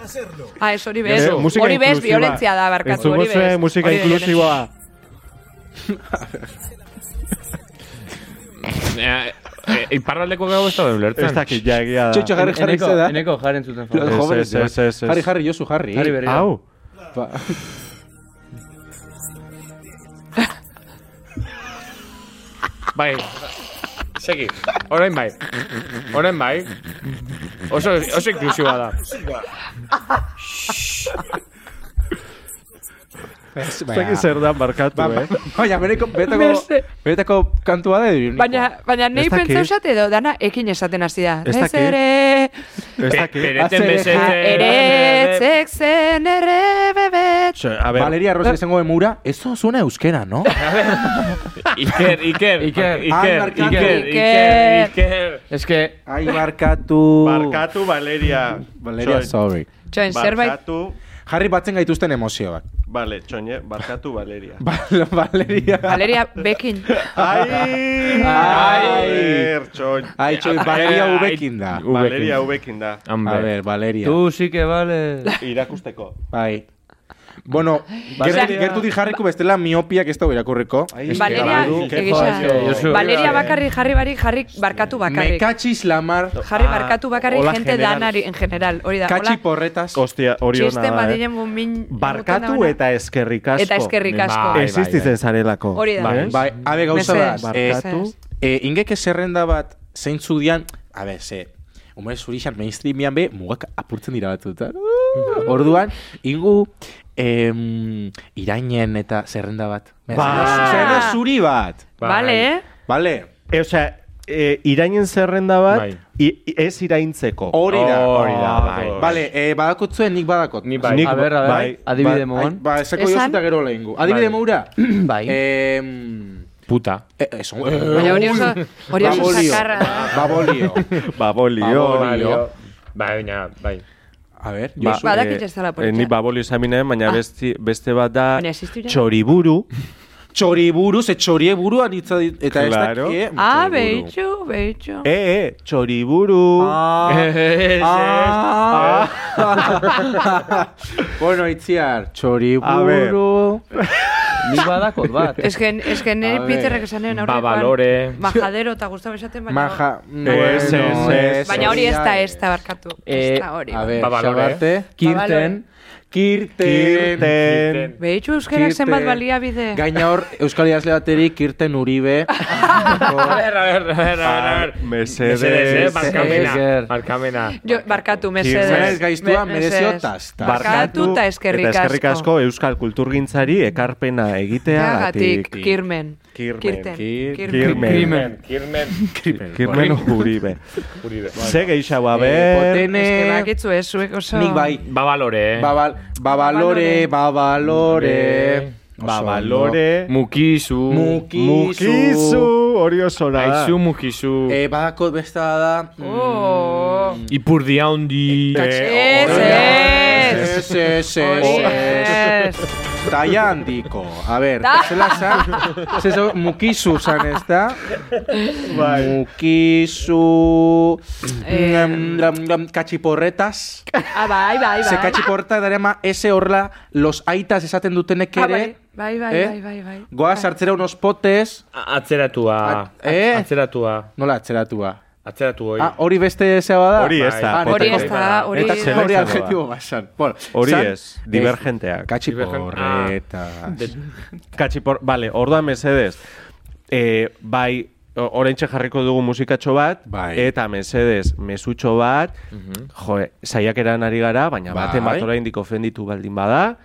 Speaker 6: Ah, ez hori bez.
Speaker 2: Eh, musika
Speaker 6: Hori bez,
Speaker 2: inklusiba.
Speaker 6: violentzia da, barkatu,
Speaker 2: Entzungo
Speaker 6: hori bez.
Speaker 2: zuen musika
Speaker 6: Hori bez,
Speaker 2: inklusiboa.
Speaker 3: eh, eh, iparraldeko gau ez da ulertzen.
Speaker 2: Ez dakit ja egia da.
Speaker 4: Txotxo jarri jarri
Speaker 5: Eneko,
Speaker 4: zeda.
Speaker 5: eneko jaren zuten.
Speaker 4: Lo de
Speaker 2: Ez,
Speaker 4: jóvenes,
Speaker 2: ez, ez, ez, ez.
Speaker 4: Jarri, jarri, Josu, jarri.
Speaker 5: Jarri berriro.
Speaker 2: Au.
Speaker 4: Ba-
Speaker 3: Bai. Segi. Orain bai. Orain bai. Oso, oso inklusiboa da.
Speaker 4: Ez
Speaker 2: Ez dakit zer da barkatu,
Speaker 3: Ba-
Speaker 2: eh?
Speaker 4: Baina, bereko, betako,
Speaker 6: Merce.
Speaker 4: betako kantua da edo.
Speaker 6: Baina, baina nei
Speaker 2: Ez dakit.
Speaker 6: pentsau esate edo dana ekin esaten hasi da.
Speaker 2: Ez
Speaker 6: Ez
Speaker 2: dakit.
Speaker 6: ere,
Speaker 3: Pe-
Speaker 2: Ez dakit.
Speaker 3: Pereten
Speaker 4: Hace-
Speaker 3: bezete.
Speaker 6: eretzek zen erre bebe diet.
Speaker 2: Ze, a ber,
Speaker 4: Valeria Rosa izango emura, eso suena euskera, ¿no?
Speaker 3: Iker, Iker, Iker,
Speaker 2: Ah,
Speaker 3: Iker,
Speaker 4: barkatu.
Speaker 3: Iker,
Speaker 6: Iker.
Speaker 3: Iker, Iker.
Speaker 5: Es que,
Speaker 4: Ai, barkatu.
Speaker 2: barkatu Valeria.
Speaker 4: Valeria,
Speaker 2: Txoin,
Speaker 4: sorry.
Speaker 6: Txoin,
Speaker 2: Ba,
Speaker 6: zerbait.
Speaker 2: Barkatu,
Speaker 4: Jarri batzen gaituzten emozioak.
Speaker 2: vale, txoine, barkatu Valeria.
Speaker 4: Val- Valeria.
Speaker 6: Valeria Bekin.
Speaker 2: Ai!
Speaker 4: Ai.
Speaker 2: Ai! Txoin.
Speaker 4: Ai, txoi, Valeria ubekin da.
Speaker 2: Valeria ubekin da.
Speaker 4: A
Speaker 3: Hombre.
Speaker 4: ber, Valeria.
Speaker 5: tú sí que vale.
Speaker 2: Irakusteko.
Speaker 4: Bai. Bueno, gertu, gertutik jarriko bestela miopiak ez da irakurriko.
Speaker 6: Valeria,
Speaker 2: Ai, ke
Speaker 6: egisa.
Speaker 2: jollo.
Speaker 6: Valeria bakarrik jarri barik, jarri barkatu
Speaker 4: Me
Speaker 6: bakarrik.
Speaker 4: cachis la mar,
Speaker 6: Jarri barkatu bakarrik
Speaker 2: Ah, hola
Speaker 6: jente
Speaker 2: general.
Speaker 6: danari, en general. Hori da,
Speaker 4: cachi
Speaker 6: hola,
Speaker 4: porretas.
Speaker 2: Ostia, hori ona
Speaker 6: txisten
Speaker 2: da. eh?
Speaker 6: badiren bumin...
Speaker 2: Barkatu
Speaker 6: mutena
Speaker 2: eta eskerrik
Speaker 6: bana.
Speaker 2: asko.
Speaker 6: Eta eskerrik asko.
Speaker 3: Bai,
Speaker 2: Existitzen zarelako.
Speaker 6: Hori da.
Speaker 2: Bai.
Speaker 4: Bai, abe gauza da.
Speaker 6: Mesedez,
Speaker 4: Eh,
Speaker 6: mesedez.
Speaker 4: eh, ingeke zerrenda bat zeintzu dian, a ber, ze, umore zurixan mainstreamian be, mugak apurtzen dira batzutan. Orduan, ingu, em, irainen eta zerrenda bat.
Speaker 2: Ba.
Speaker 4: Zerrenda zuri bat.
Speaker 6: Bale, eh?
Speaker 4: Vale.
Speaker 2: E, osea, e, irainen zerrenda bat,
Speaker 3: Bai.
Speaker 2: i- i- ez iraintzeko.
Speaker 4: Hori da.
Speaker 3: Hori da, bai.
Speaker 4: Vale, eh, badakotzue nik badakot.
Speaker 3: Ni bai.
Speaker 2: Nik-
Speaker 5: A ver, a
Speaker 2: Bai,
Speaker 5: ver, adibide
Speaker 2: bai,
Speaker 4: Ai,
Speaker 5: moan.
Speaker 4: ba, esako
Speaker 6: Esan.
Speaker 4: jozu eta gero lehengu. Adibide
Speaker 3: Bai.
Speaker 4: moura.
Speaker 5: Bai.
Speaker 4: Em,
Speaker 3: Puta.
Speaker 4: eh, eso.
Speaker 6: Baina hori oso, hori oso
Speaker 4: Babolio.
Speaker 6: sakarra.
Speaker 4: Ba,
Speaker 6: da.
Speaker 4: Babolio.
Speaker 2: Babolio.
Speaker 4: Babolio.
Speaker 3: Baina, baina, bai.
Speaker 4: A ber,
Speaker 2: Ba-
Speaker 4: Josu.
Speaker 6: Badakit
Speaker 2: eh,
Speaker 6: ez dela
Speaker 2: eh, Ni
Speaker 6: polita.
Speaker 2: babolio esaminen, baina beste, beste bat da
Speaker 6: Baina existitzen?
Speaker 2: txoriburu.
Speaker 4: ba, Txori buruz, e, txorie buruan hitz dit- eta ez
Speaker 2: Claro.
Speaker 4: dakie.
Speaker 6: Ah,
Speaker 4: txoriburu.
Speaker 6: behitxu, behitxu.
Speaker 2: E, e, txoriburu.
Speaker 4: Ah. bueno, itziar, txori
Speaker 2: A ver.
Speaker 4: buru.
Speaker 5: Ni badakot bat.
Speaker 6: Ez que, es que
Speaker 4: A
Speaker 6: nire
Speaker 4: ver.
Speaker 6: Peterrek esan nien aurrekoan.
Speaker 3: Babalore.
Speaker 6: Majadero eta gustavo esaten, baina...
Speaker 4: Maja.
Speaker 2: Ez, ez, ez.
Speaker 6: Baina hori ez da, ez
Speaker 4: da.
Speaker 6: da barkatu.
Speaker 5: Eh,
Speaker 6: Ez da hori. bai.
Speaker 4: A ver,
Speaker 3: Babalore.
Speaker 4: xabarte.
Speaker 5: Kirten,
Speaker 4: Kirten.
Speaker 2: Kirten.
Speaker 6: Behitxu euskerak zenbat
Speaker 4: Kirten.
Speaker 6: balia bide.
Speaker 4: Gaina hor, Euskal Idazle baterik, Kirten Uribe. Eh,
Speaker 3: A ver, a ver, a ver, a ver, a ver.
Speaker 2: Ah, mesedez.
Speaker 3: eh,
Speaker 5: Esker.
Speaker 3: barkamena. Barkamena.
Speaker 6: Jo, barkatu, mesedez.
Speaker 2: Kirten
Speaker 4: Zerez gaiztua,
Speaker 6: Me-
Speaker 4: merezio
Speaker 6: mesedez.
Speaker 4: tazta.
Speaker 6: Barkatu eta eskerrik
Speaker 2: Eta eskerrik
Speaker 6: asko.
Speaker 2: asko euskal kulturgintzari ekarpena
Speaker 6: Gatik,
Speaker 2: egiteagatik.
Speaker 6: kirmen.
Speaker 2: Kirmen.
Speaker 4: Kir-
Speaker 6: Kirmen.
Speaker 3: Kirmen. Kirmen.
Speaker 2: Kirmen Uribe.
Speaker 3: Uribe.
Speaker 2: Ze gehiago, a
Speaker 4: Eh,
Speaker 2: ber.
Speaker 6: Ez que
Speaker 4: Potene.
Speaker 6: bakitzu ez, zuek oso...
Speaker 4: Nik bai.
Speaker 3: Babalore. eh.
Speaker 4: Babal, babalore, babalore.
Speaker 3: Babalore.
Speaker 4: Oso
Speaker 2: Babalore.
Speaker 3: Mukizu.
Speaker 4: Mukizu.
Speaker 2: Mukizu. Hori oso ona da.
Speaker 3: Aizu mukizu.
Speaker 4: ondo. Eh, badako beste da. mm,
Speaker 6: Oh.
Speaker 3: Ipurdia Eh, handi.
Speaker 4: Eh,
Speaker 3: Eh,
Speaker 6: Ez, ez.
Speaker 4: Ez, ez,
Speaker 6: Hori
Speaker 4: ez.
Speaker 6: ez.
Speaker 4: Taia handiko. A ber, zela zan. Zezo, mukizu zan ez da. Mukizu.
Speaker 6: Eh.
Speaker 4: mm, lam, lam, Katxiporretas.
Speaker 6: Ah, bai, bai,
Speaker 4: Ze
Speaker 6: bai.
Speaker 4: katxiporretak darema ese horla los aitas esaten dutenek
Speaker 6: Ah,
Speaker 4: ere.
Speaker 6: bai, bai, bai,
Speaker 4: Eh?
Speaker 6: bai, bai, bai.
Speaker 4: Goaz hartzera unos potes.
Speaker 3: A- Atzeratua.
Speaker 4: At- eh?
Speaker 3: Atzeratua.
Speaker 4: Nola atzeratua?
Speaker 3: Atzeratu hori.
Speaker 4: Ah, hori beste zea bada?
Speaker 2: Hori ez da.
Speaker 4: Ah,
Speaker 2: pote-
Speaker 6: Hori ez da, hori...
Speaker 4: Eta
Speaker 2: zela
Speaker 4: hori
Speaker 2: izango da.
Speaker 4: adjetibo basan. Bueno,
Speaker 2: Hori
Speaker 4: zan-
Speaker 2: ez, divergenteak.
Speaker 4: Katxi
Speaker 3: Divergen-
Speaker 4: porreta.
Speaker 2: Katxipor, bale, orduan mesedez. E, bai, o- oraintxe jarriko dugu musikatxo bat,
Speaker 4: Bai.
Speaker 2: eta mesedez, mesutxo bat, jo, eh, saiakeran ari gara, baina
Speaker 4: Bai.
Speaker 2: baten bat oraindik ofenditu baldin bada,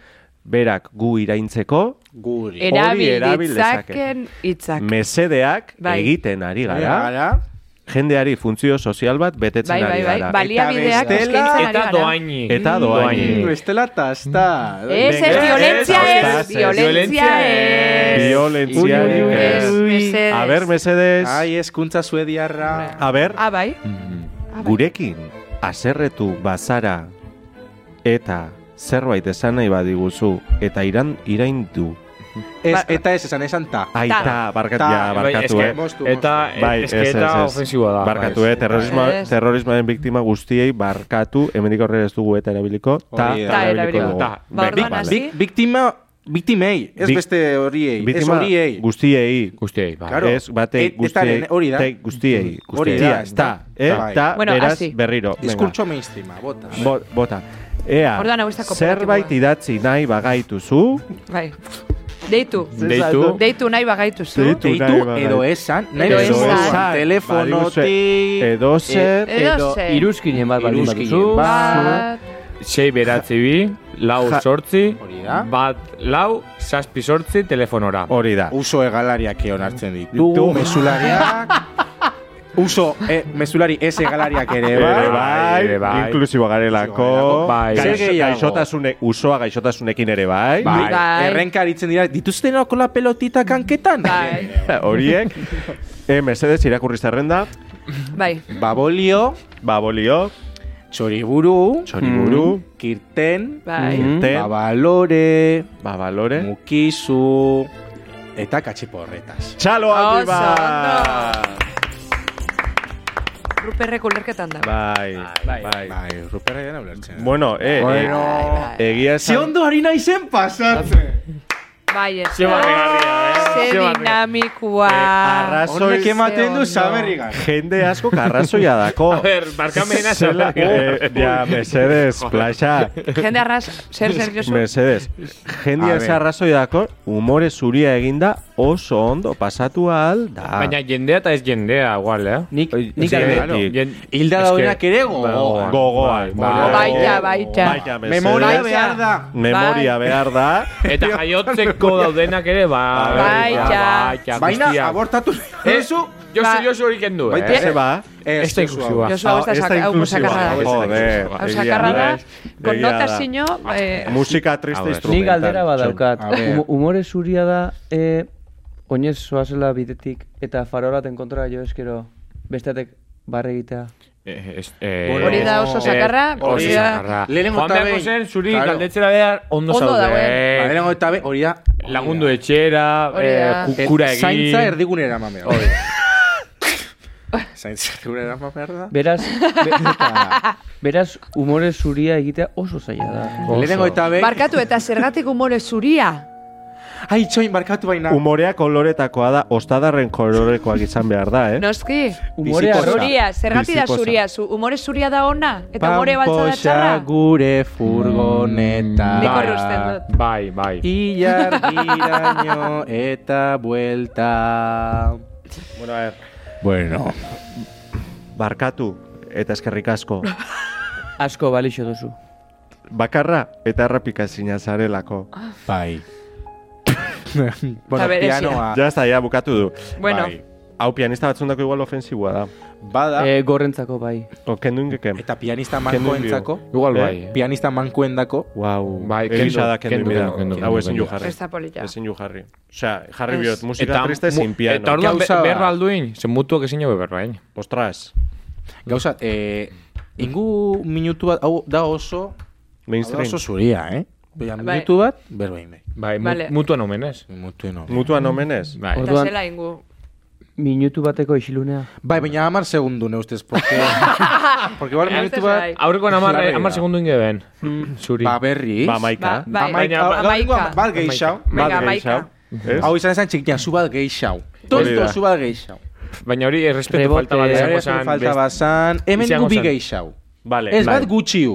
Speaker 2: berak gu iraintzeko,
Speaker 4: Guri.
Speaker 6: Erabil
Speaker 2: Hori erabil dezake.
Speaker 6: ditzaken hitzak.
Speaker 2: mesedeak
Speaker 6: Bai.
Speaker 2: egiten ari gara,
Speaker 4: Gara.
Speaker 2: jendeari funtzio sozial bat betetzen
Speaker 6: Bai, bai,
Speaker 2: ari
Speaker 6: bai.
Speaker 2: gara.
Speaker 6: Baliabideak
Speaker 4: bestela-
Speaker 6: eskaintzen ari
Speaker 3: Eta
Speaker 6: gara.
Speaker 3: doaini.
Speaker 2: Eta doaini.
Speaker 4: Mm, Bestela tazta.
Speaker 6: Mm. Ez, ez,
Speaker 2: Venga,
Speaker 6: violentzia
Speaker 2: ez,
Speaker 6: ez,
Speaker 2: ez, ez.
Speaker 6: violentzia ez.
Speaker 2: Violentzia
Speaker 4: Ui, ui, ui,
Speaker 6: Ez,
Speaker 2: ez.
Speaker 6: mesedez.
Speaker 2: A ber, mesedez,
Speaker 4: Ai, eskuntza suediarra.
Speaker 2: a ber,
Speaker 6: Ah, bai? Ah, bai.
Speaker 2: Gurekin haserretu bazara eta zerbait esan nahi badiguzu eta iran iraindu.
Speaker 4: Ez,
Speaker 6: Ba-
Speaker 4: eta ez, esan esan ta.
Speaker 2: Aita, barkatu,
Speaker 4: Ta.
Speaker 2: ja,
Speaker 3: Bai,
Speaker 2: barkatu,
Speaker 3: eske-
Speaker 2: eh.
Speaker 4: Moztu, moztu.
Speaker 3: Eta,
Speaker 2: Bai,
Speaker 3: eske
Speaker 2: ez,
Speaker 3: eta
Speaker 2: ez, ez.
Speaker 3: ofensiboa da.
Speaker 2: Barkatu, eh, terrorisma,
Speaker 6: Ez.
Speaker 2: terrorismoaren biktima guztiei barkatu, hemendik aurrera ez dugu eta erabiliko, ta,
Speaker 4: Hori da.
Speaker 6: Ta erabiliko.
Speaker 2: dugu.
Speaker 3: Ta.
Speaker 6: Ba,
Speaker 2: Venga,
Speaker 6: orduan
Speaker 2: vale.
Speaker 6: hasi.
Speaker 4: Biktima, biktimei, ez
Speaker 2: Bik-
Speaker 4: beste horiei, ez
Speaker 2: Biktima
Speaker 4: horiei.
Speaker 2: guztiei,
Speaker 3: Guztiei, bai.
Speaker 4: Claro.
Speaker 2: ez batei
Speaker 4: Et-
Speaker 2: guztiei,
Speaker 4: etaren, hori da.
Speaker 2: tei guztiei,
Speaker 4: Hori
Speaker 2: guztiei,
Speaker 4: da,
Speaker 2: Tia, ez da, eh,
Speaker 4: Bai.
Speaker 2: ta,
Speaker 6: Bueno,
Speaker 2: beraz,
Speaker 6: hasi.
Speaker 2: berriro, venga.
Speaker 4: Diskurtso mainstreama, bota.
Speaker 2: Bo- bota. Ea,
Speaker 6: Orduan hau ez da kooperatiboa.
Speaker 2: zerbait idatzi nahi bagaituzu,
Speaker 6: Bai. Deitu.
Speaker 3: Deitu.
Speaker 6: Deitu nahi bagaituzu.
Speaker 2: Deitu. nahi
Speaker 4: Deitu
Speaker 2: badai.
Speaker 4: edo esan, nahi
Speaker 6: Edo
Speaker 4: esan,
Speaker 6: esan.
Speaker 2: Ba,
Speaker 4: telefonotik,
Speaker 2: Badiguzue,
Speaker 5: Eh,
Speaker 2: edozer,
Speaker 6: Edo zer.
Speaker 5: Iruzkinen bat baldin
Speaker 4: Iruzkinen ba.
Speaker 5: baduzu.
Speaker 6: Bat.
Speaker 3: Sei beratzi bi, lau
Speaker 2: Ja.
Speaker 3: sortzi,
Speaker 4: Hori da.
Speaker 3: bat lau, saspi sortzi telefonora.
Speaker 2: hori da.
Speaker 4: uso egalariak onartzen ditugu,
Speaker 2: Ditugu.
Speaker 4: mesulariak, Uso, eh, mezulari ez egalariak ere,
Speaker 2: Ere
Speaker 4: bai.
Speaker 2: bai,
Speaker 3: ere bai.
Speaker 2: inklusiboa garelako.
Speaker 3: Inklusiboa garelako, bai.
Speaker 2: Gaixo-
Speaker 4: Zer gehiago?
Speaker 2: gaixotasunek- usoa gaixotasunekin ere bai.
Speaker 4: Bai.
Speaker 6: Bai.
Speaker 4: Errenka aritzen dira, dituztenako la pelotita kanketan.
Speaker 6: Bai.
Speaker 2: Horiek. Eh, mesedez irakurri zerrenda,
Speaker 6: Bai.
Speaker 4: Babolio,
Speaker 2: babolio,
Speaker 4: txoriburu, Mm.
Speaker 2: txoriburu,
Speaker 4: kirten,
Speaker 6: Bai.
Speaker 2: irten,
Speaker 4: babalore, Eh?
Speaker 2: babalore,
Speaker 4: mukizu, eta katxiporretas.
Speaker 2: txalo handi
Speaker 6: Oso
Speaker 2: bat!
Speaker 6: Ruperreko lerketan da.
Speaker 2: Bai, bai,
Speaker 4: Bai, rupera dena ulertzen.
Speaker 2: Bueno, eh, eh, egia esan...
Speaker 4: ari naizen pasatzen.
Speaker 6: Bai, ez.
Speaker 3: Ze barregarria, eh?
Speaker 6: Ze
Speaker 3: Ze barregarria.
Speaker 6: dinamikua.
Speaker 2: arrazoi-
Speaker 4: Horrek ematen du
Speaker 6: Ondo.
Speaker 4: saberrigan.
Speaker 2: Jende asko karrazoia dako.
Speaker 3: A ver, barkamena zela.
Speaker 2: Eh, ja, mesedez, plaxa.
Speaker 6: Jende arras, zer serioso.
Speaker 2: Mercedes, jendia
Speaker 4: A
Speaker 2: ez
Speaker 4: ber.
Speaker 2: arrazoi dako, umore zuria eginda oso ondo pasatu ahal da.
Speaker 3: Baina jendea eta ez jendea, igual, eh?
Speaker 5: Nik, nik
Speaker 2: Zer-
Speaker 5: alde.
Speaker 2: Nik-
Speaker 4: Hilda
Speaker 3: Es que-
Speaker 4: daudenak ere gogoan.
Speaker 2: gogoan.
Speaker 3: Bai.
Speaker 6: Baita, baita.
Speaker 2: Baina, mesedez,
Speaker 4: Memoria
Speaker 6: Bai.
Speaker 4: behar da.
Speaker 2: memoria behar da.
Speaker 3: Eta jaiotzeko daudenak ere, ba...
Speaker 6: Bai, ja.
Speaker 4: Baina, abortatu.
Speaker 3: Eso,
Speaker 6: Ba-
Speaker 3: Eh, Josu, Josu hori kendu, eh?
Speaker 4: Baita
Speaker 2: Ze ba?
Speaker 4: Ez,
Speaker 3: Esta
Speaker 4: ez,
Speaker 3: inklusiva.
Speaker 6: Josu, hau ez da
Speaker 2: Esta
Speaker 6: saca- hau
Speaker 2: inklusiva.
Speaker 6: sakarra da.
Speaker 2: Joder, eh.
Speaker 6: Hau
Speaker 2: egia
Speaker 6: sakarra da,
Speaker 2: ez.
Speaker 6: con
Speaker 2: Egia
Speaker 6: nota
Speaker 2: da.
Speaker 6: zino, eh,
Speaker 2: Musika triste
Speaker 5: Nik
Speaker 2: instrumental.
Speaker 5: galdera badaukat.
Speaker 4: A ver.
Speaker 5: Humo- Humore zuria da, eh, oinez zoazela bidetik, eta farolaten kontra jo eskero, besteatek barre egitea.
Speaker 3: Eh,
Speaker 6: Hori da oso sakarra, hori
Speaker 4: Lehenengo
Speaker 6: da-
Speaker 3: Lehenengo
Speaker 4: eta
Speaker 3: eta
Speaker 4: behin.
Speaker 3: zen, zuri
Speaker 4: eh, Claro.
Speaker 3: galdetzera behar ondo
Speaker 6: Ondo
Speaker 3: zaude.
Speaker 4: Lehenengo eta be, hori da.
Speaker 3: Lagundu etxera,
Speaker 6: Hori
Speaker 3: eh,
Speaker 6: da.
Speaker 4: Eh,
Speaker 3: kukura egin.
Speaker 4: Zaintza erdigunera eman behar da. Zaintza erdigunera eman behar da.
Speaker 5: Beraz, beraz, humore zuria egitea oso zaila da.
Speaker 4: Lehenengo eta be.
Speaker 6: Barkatu eta zergatik umore zuria.
Speaker 4: Ai, txoin, barkatu baina.
Speaker 2: Umorea koloretakoa da, ostadarren kolorekoak izan behar da, eh?
Speaker 6: Noski.
Speaker 5: Humore
Speaker 2: Bizikosa.
Speaker 5: arrori.
Speaker 6: Zuria, zergatik da
Speaker 2: Bizipoza.
Speaker 6: zuria? Zu, umore zuria da ona? Eta umore baltza da
Speaker 4: Pampoxa
Speaker 6: txarra?
Speaker 4: gure furgoneta.
Speaker 6: Nik horri Mm. usten dut.
Speaker 3: Bai, bai.
Speaker 4: Ilargiraino eta buelta.
Speaker 2: Bueno, a ver.
Speaker 4: Bueno.
Speaker 2: Barkatu eta eskerrik asko.
Speaker 5: Asko balixo duzu.
Speaker 2: Bakarra eta errepikazina zarelako.
Speaker 4: Bai.
Speaker 6: Eta
Speaker 4: bueno,
Speaker 6: berezia.
Speaker 4: pianoa.
Speaker 2: Ja, ez da, ja, bukatu du.
Speaker 6: Bueno,
Speaker 4: Bai.
Speaker 2: Hau pianista batzundako igual ofensiboa da.
Speaker 4: Bada.
Speaker 5: Eh, gorrentzako bai.
Speaker 2: O, kendu ingeken.
Speaker 4: Eta pianista
Speaker 2: Kendu
Speaker 4: mankoentzako.
Speaker 3: Igual
Speaker 2: Eh,
Speaker 3: bai. eh.
Speaker 4: Pianista mankoendako.
Speaker 2: Wow.
Speaker 3: Bai,
Speaker 2: Egisa
Speaker 3: kendu,
Speaker 2: da kendu,
Speaker 3: kendu,
Speaker 2: mira.
Speaker 3: kendu, kendu,
Speaker 2: Hau
Speaker 3: kendu,
Speaker 2: ezin
Speaker 3: kendu.
Speaker 2: ju jarri.
Speaker 6: ez da polita.
Speaker 2: bai. Ezin ju jarri. Osea, jarri
Speaker 6: Ez.
Speaker 2: biot, musika triste sin
Speaker 3: mu-
Speaker 2: piano.
Speaker 3: Eta orduan be-
Speaker 4: Gauza-
Speaker 3: berra alduin, zen mutuak ezin eh? jau berrain.
Speaker 2: Ostras,
Speaker 4: Gauza, eh, ingu minutu bat, hau da oso, hau da
Speaker 2: mainstream.
Speaker 4: oso zuria, eh? Baina
Speaker 6: Bai.
Speaker 4: minutu bat, berbein behin.
Speaker 3: Bai, mu-
Speaker 6: Vale.
Speaker 3: mutuan omenez.
Speaker 4: Minutu eno.
Speaker 2: Mutuan omenez.
Speaker 3: Bai.
Speaker 6: Eta
Speaker 5: Orduan-
Speaker 6: zela ingu.
Speaker 5: Minutu bateko isilunea.
Speaker 4: Bai, baina amar segundu ne ustez, porque... porque igual
Speaker 6: Antes
Speaker 4: minutu bat...
Speaker 6: bai.
Speaker 3: Aurrekoan amar,
Speaker 4: Larria.
Speaker 3: amar segundu inge ben. Zuri.
Speaker 4: Ba, berriz.
Speaker 2: Ba, maika.
Speaker 6: Ba, bai.
Speaker 4: Amaika. ba,
Speaker 3: Baina-
Speaker 4: Gaur ingoan
Speaker 6: Amaika.
Speaker 4: Bat geixau.
Speaker 2: Bat
Speaker 6: Venga,
Speaker 2: gehiago.
Speaker 6: maika.
Speaker 2: Ez?
Speaker 4: Hau izan esan txikian, zu bat geixau. Tonto,
Speaker 2: da.
Speaker 4: zu bat geixau.
Speaker 3: Baina hori errespetu
Speaker 5: Rebote,
Speaker 3: falta bat
Speaker 5: Izango
Speaker 4: Ere,
Speaker 3: izango
Speaker 4: zure
Speaker 3: zan.
Speaker 4: falta
Speaker 3: best-
Speaker 4: bazan... Hemen
Speaker 3: Izango
Speaker 4: gu bi
Speaker 3: zen.
Speaker 4: geixau.
Speaker 2: Vale.
Speaker 4: Ez bat
Speaker 2: bai.
Speaker 4: gutxiu.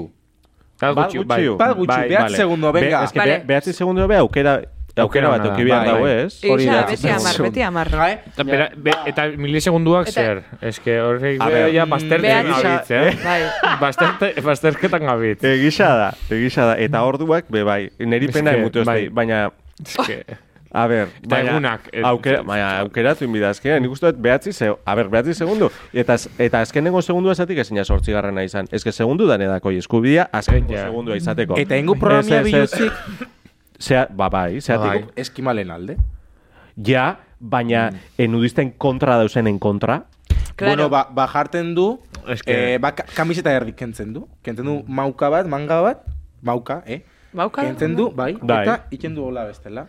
Speaker 3: Bat
Speaker 2: Bat
Speaker 3: gutxi,
Speaker 2: gutxiu.
Speaker 3: bai.
Speaker 4: Bat gutxi,
Speaker 2: Bai,
Speaker 4: behatzi
Speaker 2: vale.
Speaker 4: segundo,
Speaker 2: Be-
Speaker 4: venga.
Speaker 2: eske
Speaker 6: Vale.
Speaker 2: be- behatzi segundo be aukera, aukera bat
Speaker 3: ona da.
Speaker 2: euki behar
Speaker 4: Bai,
Speaker 2: dago,
Speaker 4: bai.
Speaker 2: ez?
Speaker 4: Hori
Speaker 6: Eixa,
Speaker 4: da.
Speaker 6: beti amar, beti amar.
Speaker 4: Gai?
Speaker 3: Eta, bera, be,
Speaker 4: Ah.
Speaker 3: eta milisegunduak
Speaker 6: Eta-
Speaker 3: zer. Ez que horrek
Speaker 2: A ber.
Speaker 4: mm,
Speaker 3: ja bazterketan
Speaker 6: Beak-
Speaker 3: gabiltz, eh?
Speaker 6: Bai.
Speaker 3: Bazterte- Bazterketan gabiltz.
Speaker 4: Eh.
Speaker 2: Egisa da, egisa da.
Speaker 4: Mm.
Speaker 2: Eta orduak, be bai, neri
Speaker 3: Ez
Speaker 2: pena
Speaker 3: que,
Speaker 2: emutu ez
Speaker 3: bai.
Speaker 2: dai, baina
Speaker 3: Ez que-
Speaker 2: A ber,
Speaker 3: egunak, eh,
Speaker 2: aukera, baina aukeratu inbida azkenean, nik uste dut behatzi, ze, a ber, behatzi segundu, eta, az- eta azkenengo segundua esatik ezin sortzigarrena izan. Ez que segundu dan edako eskubidea, azkenengo
Speaker 3: Ja.
Speaker 2: segundua izateko.
Speaker 4: Eta ingo
Speaker 2: Ez,
Speaker 4: programia
Speaker 2: ez, ez.
Speaker 4: biluzik...
Speaker 2: Zea, ba, bai, zeatik,
Speaker 3: Bai.
Speaker 4: Eskimalen alde.
Speaker 2: ja, baina enudisten kontra dauzenen kontra.
Speaker 6: Claro.
Speaker 4: Bueno, ba, ba jarten du,
Speaker 3: Es que-
Speaker 4: eh, ba, ka- kamiseta erdi kentzen du. Kentzen du
Speaker 2: Mm.
Speaker 4: mauka bat, manga bat, mauka, eh?
Speaker 6: Bauka?
Speaker 4: Kentzen du, bai,
Speaker 2: Bai.
Speaker 4: eta iken du hola bestela.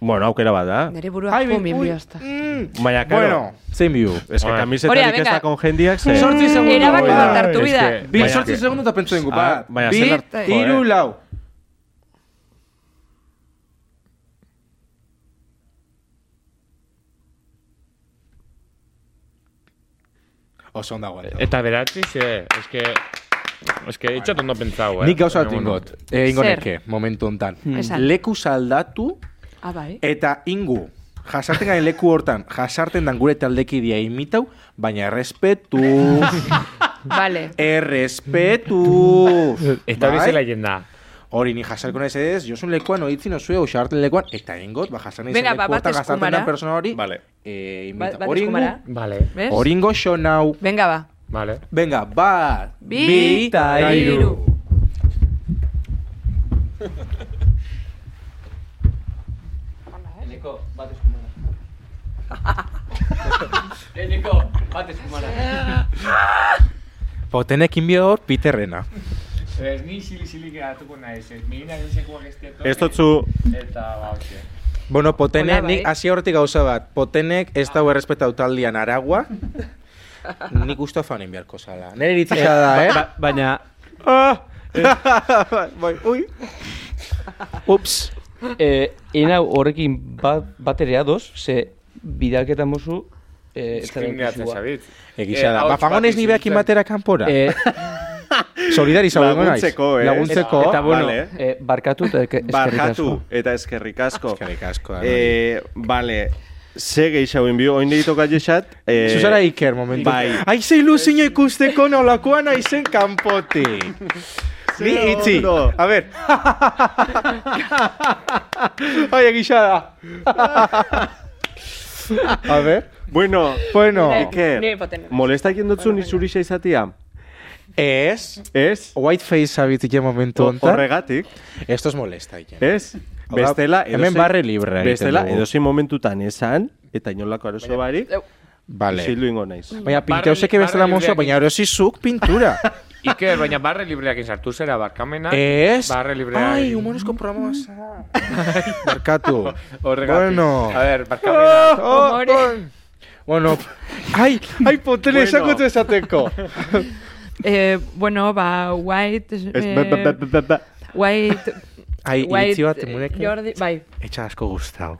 Speaker 2: Bueno, aukera bat da.
Speaker 6: Nere burua kumin bihazta.
Speaker 2: Baina,
Speaker 4: mm.
Speaker 2: karo,
Speaker 4: Bueno, zein biu.
Speaker 2: ez que
Speaker 3: Oe.
Speaker 6: Orea,
Speaker 2: kamisetarik ez
Speaker 6: venga.
Speaker 2: dakon jendiak, ze...
Speaker 6: Mm,
Speaker 4: Sortzi segundu.
Speaker 6: Erabaki bat
Speaker 4: Bai.
Speaker 6: hartu
Speaker 3: Es
Speaker 6: bida.
Speaker 3: que-
Speaker 4: Bi
Speaker 2: Baina-
Speaker 4: sortzi segundu eta pentsu dengu,
Speaker 2: Ah,
Speaker 4: ba.
Speaker 2: baina
Speaker 4: Bi,
Speaker 2: zer
Speaker 6: lart-
Speaker 4: iru,
Speaker 2: joder.
Speaker 4: lau. Oso ondago.
Speaker 3: Eta beratzi, ze, ez que... Ez que itxat ondo pentsau, eh?
Speaker 4: Nik gauza bat
Speaker 3: Baina, bueno.
Speaker 4: ingot, eh, ingo
Speaker 6: Zer? Hmm.
Speaker 4: neke, momentu hontan.
Speaker 6: Esan.
Speaker 4: Leku saldatu
Speaker 6: Ah, bai.
Speaker 4: Eta ingu, jasarten garen leku hortan, jasarten dan gure taldekidea imitau, baina errespetu,
Speaker 6: Vale.
Speaker 4: errespetu.
Speaker 3: Eta hori
Speaker 4: Bai?
Speaker 3: zela jenda.
Speaker 4: Hori, ni jasarko nahez edez, josun lekuan oitzin osue, osarten lekuan, eta ingot, ba jasarten
Speaker 6: Venga,
Speaker 4: izan
Speaker 6: ba,
Speaker 4: leku
Speaker 6: bat
Speaker 4: hortan jasarten
Speaker 6: eskumara.
Speaker 4: dan persona hori,
Speaker 2: Vale.
Speaker 4: eh,
Speaker 6: Bat,
Speaker 4: imita.
Speaker 6: bat
Speaker 4: Hori
Speaker 6: eskumara.
Speaker 4: ingo-
Speaker 3: Vale,
Speaker 6: Bez?
Speaker 4: hori ingo xonau.
Speaker 6: Venga, ba.
Speaker 3: vale.
Speaker 4: Venga, bat,
Speaker 6: Bi,
Speaker 4: bi,
Speaker 5: ta hiru. Eneko bat eskumara. Eneko bat eskumara.
Speaker 4: Potenekin bihor, Peterrena.
Speaker 3: Ez ni xili-xili geratuko naiz, ez mi gina gizekoak ez dietu.
Speaker 2: Ez dutzu,
Speaker 3: Eta, ba, hostia.
Speaker 4: Bueno, potene,
Speaker 6: Hola, bai.
Speaker 4: nik hasi hortik gauza bat. Potenek ez dago errespetatu taldian aragua. Nik usto fanin beharko zala. Nere iritzia da, eh?
Speaker 1: Ba- Baina,
Speaker 4: bai, ui. Ups.
Speaker 5: eh, enau horrekin bat, bat ere ados, ze bidalketa mozu... Eh, ez zara
Speaker 3: Diskriminatzen
Speaker 5: ikusua.
Speaker 3: zabit.
Speaker 4: Egisa
Speaker 3: Eh,
Speaker 4: da.
Speaker 3: ahots
Speaker 4: Ba, fagonez
Speaker 3: bat
Speaker 4: ni behakin
Speaker 3: isiltzen.
Speaker 4: batera kanpora.
Speaker 5: Eh,
Speaker 4: Solidari zaudeko naiz.
Speaker 2: Laguntzeko, eh?
Speaker 4: Laguntzeko.
Speaker 2: Eta, bueno,
Speaker 4: Vale.
Speaker 5: eh, barkatu eta eke- eskerrik asko.
Speaker 2: barkatu eta eskerrik asko.
Speaker 4: Eskerrik asko. Eh,
Speaker 2: Eh, vale, ze geixau inbio, oin deitok aiexat. Eh,
Speaker 4: Susara Iker momentu.
Speaker 2: bai.
Speaker 4: Aize ilusiño ikusteko nolakoa naizen kanpoti. Ni
Speaker 2: Ze
Speaker 4: itzi.
Speaker 2: ondo.
Speaker 4: A ber. Ai, egisa da. A ber.
Speaker 2: Bueno,
Speaker 4: Bueno.
Speaker 2: Iker,
Speaker 6: Eh, Nire poten.
Speaker 2: molesta egin dutzu ni zurixa izatia?
Speaker 4: Ez.
Speaker 2: Ez?
Speaker 4: Whiteface abitike momentu hontan.
Speaker 2: Horregatik,
Speaker 4: Esto es molesta, Iker.
Speaker 2: ez? Eh, Bestela, edozein-
Speaker 4: hemen barre librea egiten
Speaker 2: Bestela,
Speaker 4: dugu.
Speaker 2: edozein momentutan esan, eta inolako arazo barik,
Speaker 4: Vale.
Speaker 2: zildu ingo naiz.
Speaker 4: Baina pinteusek
Speaker 3: Barre-
Speaker 4: bestela
Speaker 3: barre
Speaker 4: mozo,
Speaker 3: libreak
Speaker 4: baina erosi zuk pintura.
Speaker 3: Iker, baina barre libreak sartu zera, barkamena.
Speaker 4: Ez?
Speaker 3: Ah, Barre libreak.
Speaker 4: Ai, humorezko programa bazara. Barkatu.
Speaker 3: Horregatik.
Speaker 4: Bueno.
Speaker 3: A ber, barkamena.
Speaker 4: Oh, oh. Bueno, ai, ai, potele
Speaker 2: Bueno.
Speaker 4: esakotu esateko.
Speaker 6: Eh, bueno, ba, white... eh,
Speaker 2: Ez, ba, ba, ba, ba, ba.
Speaker 6: White...
Speaker 4: Ai, iritzi bat,
Speaker 6: eh,
Speaker 4: emunek.
Speaker 6: Jordi, bai.
Speaker 4: Etxa asko gustau.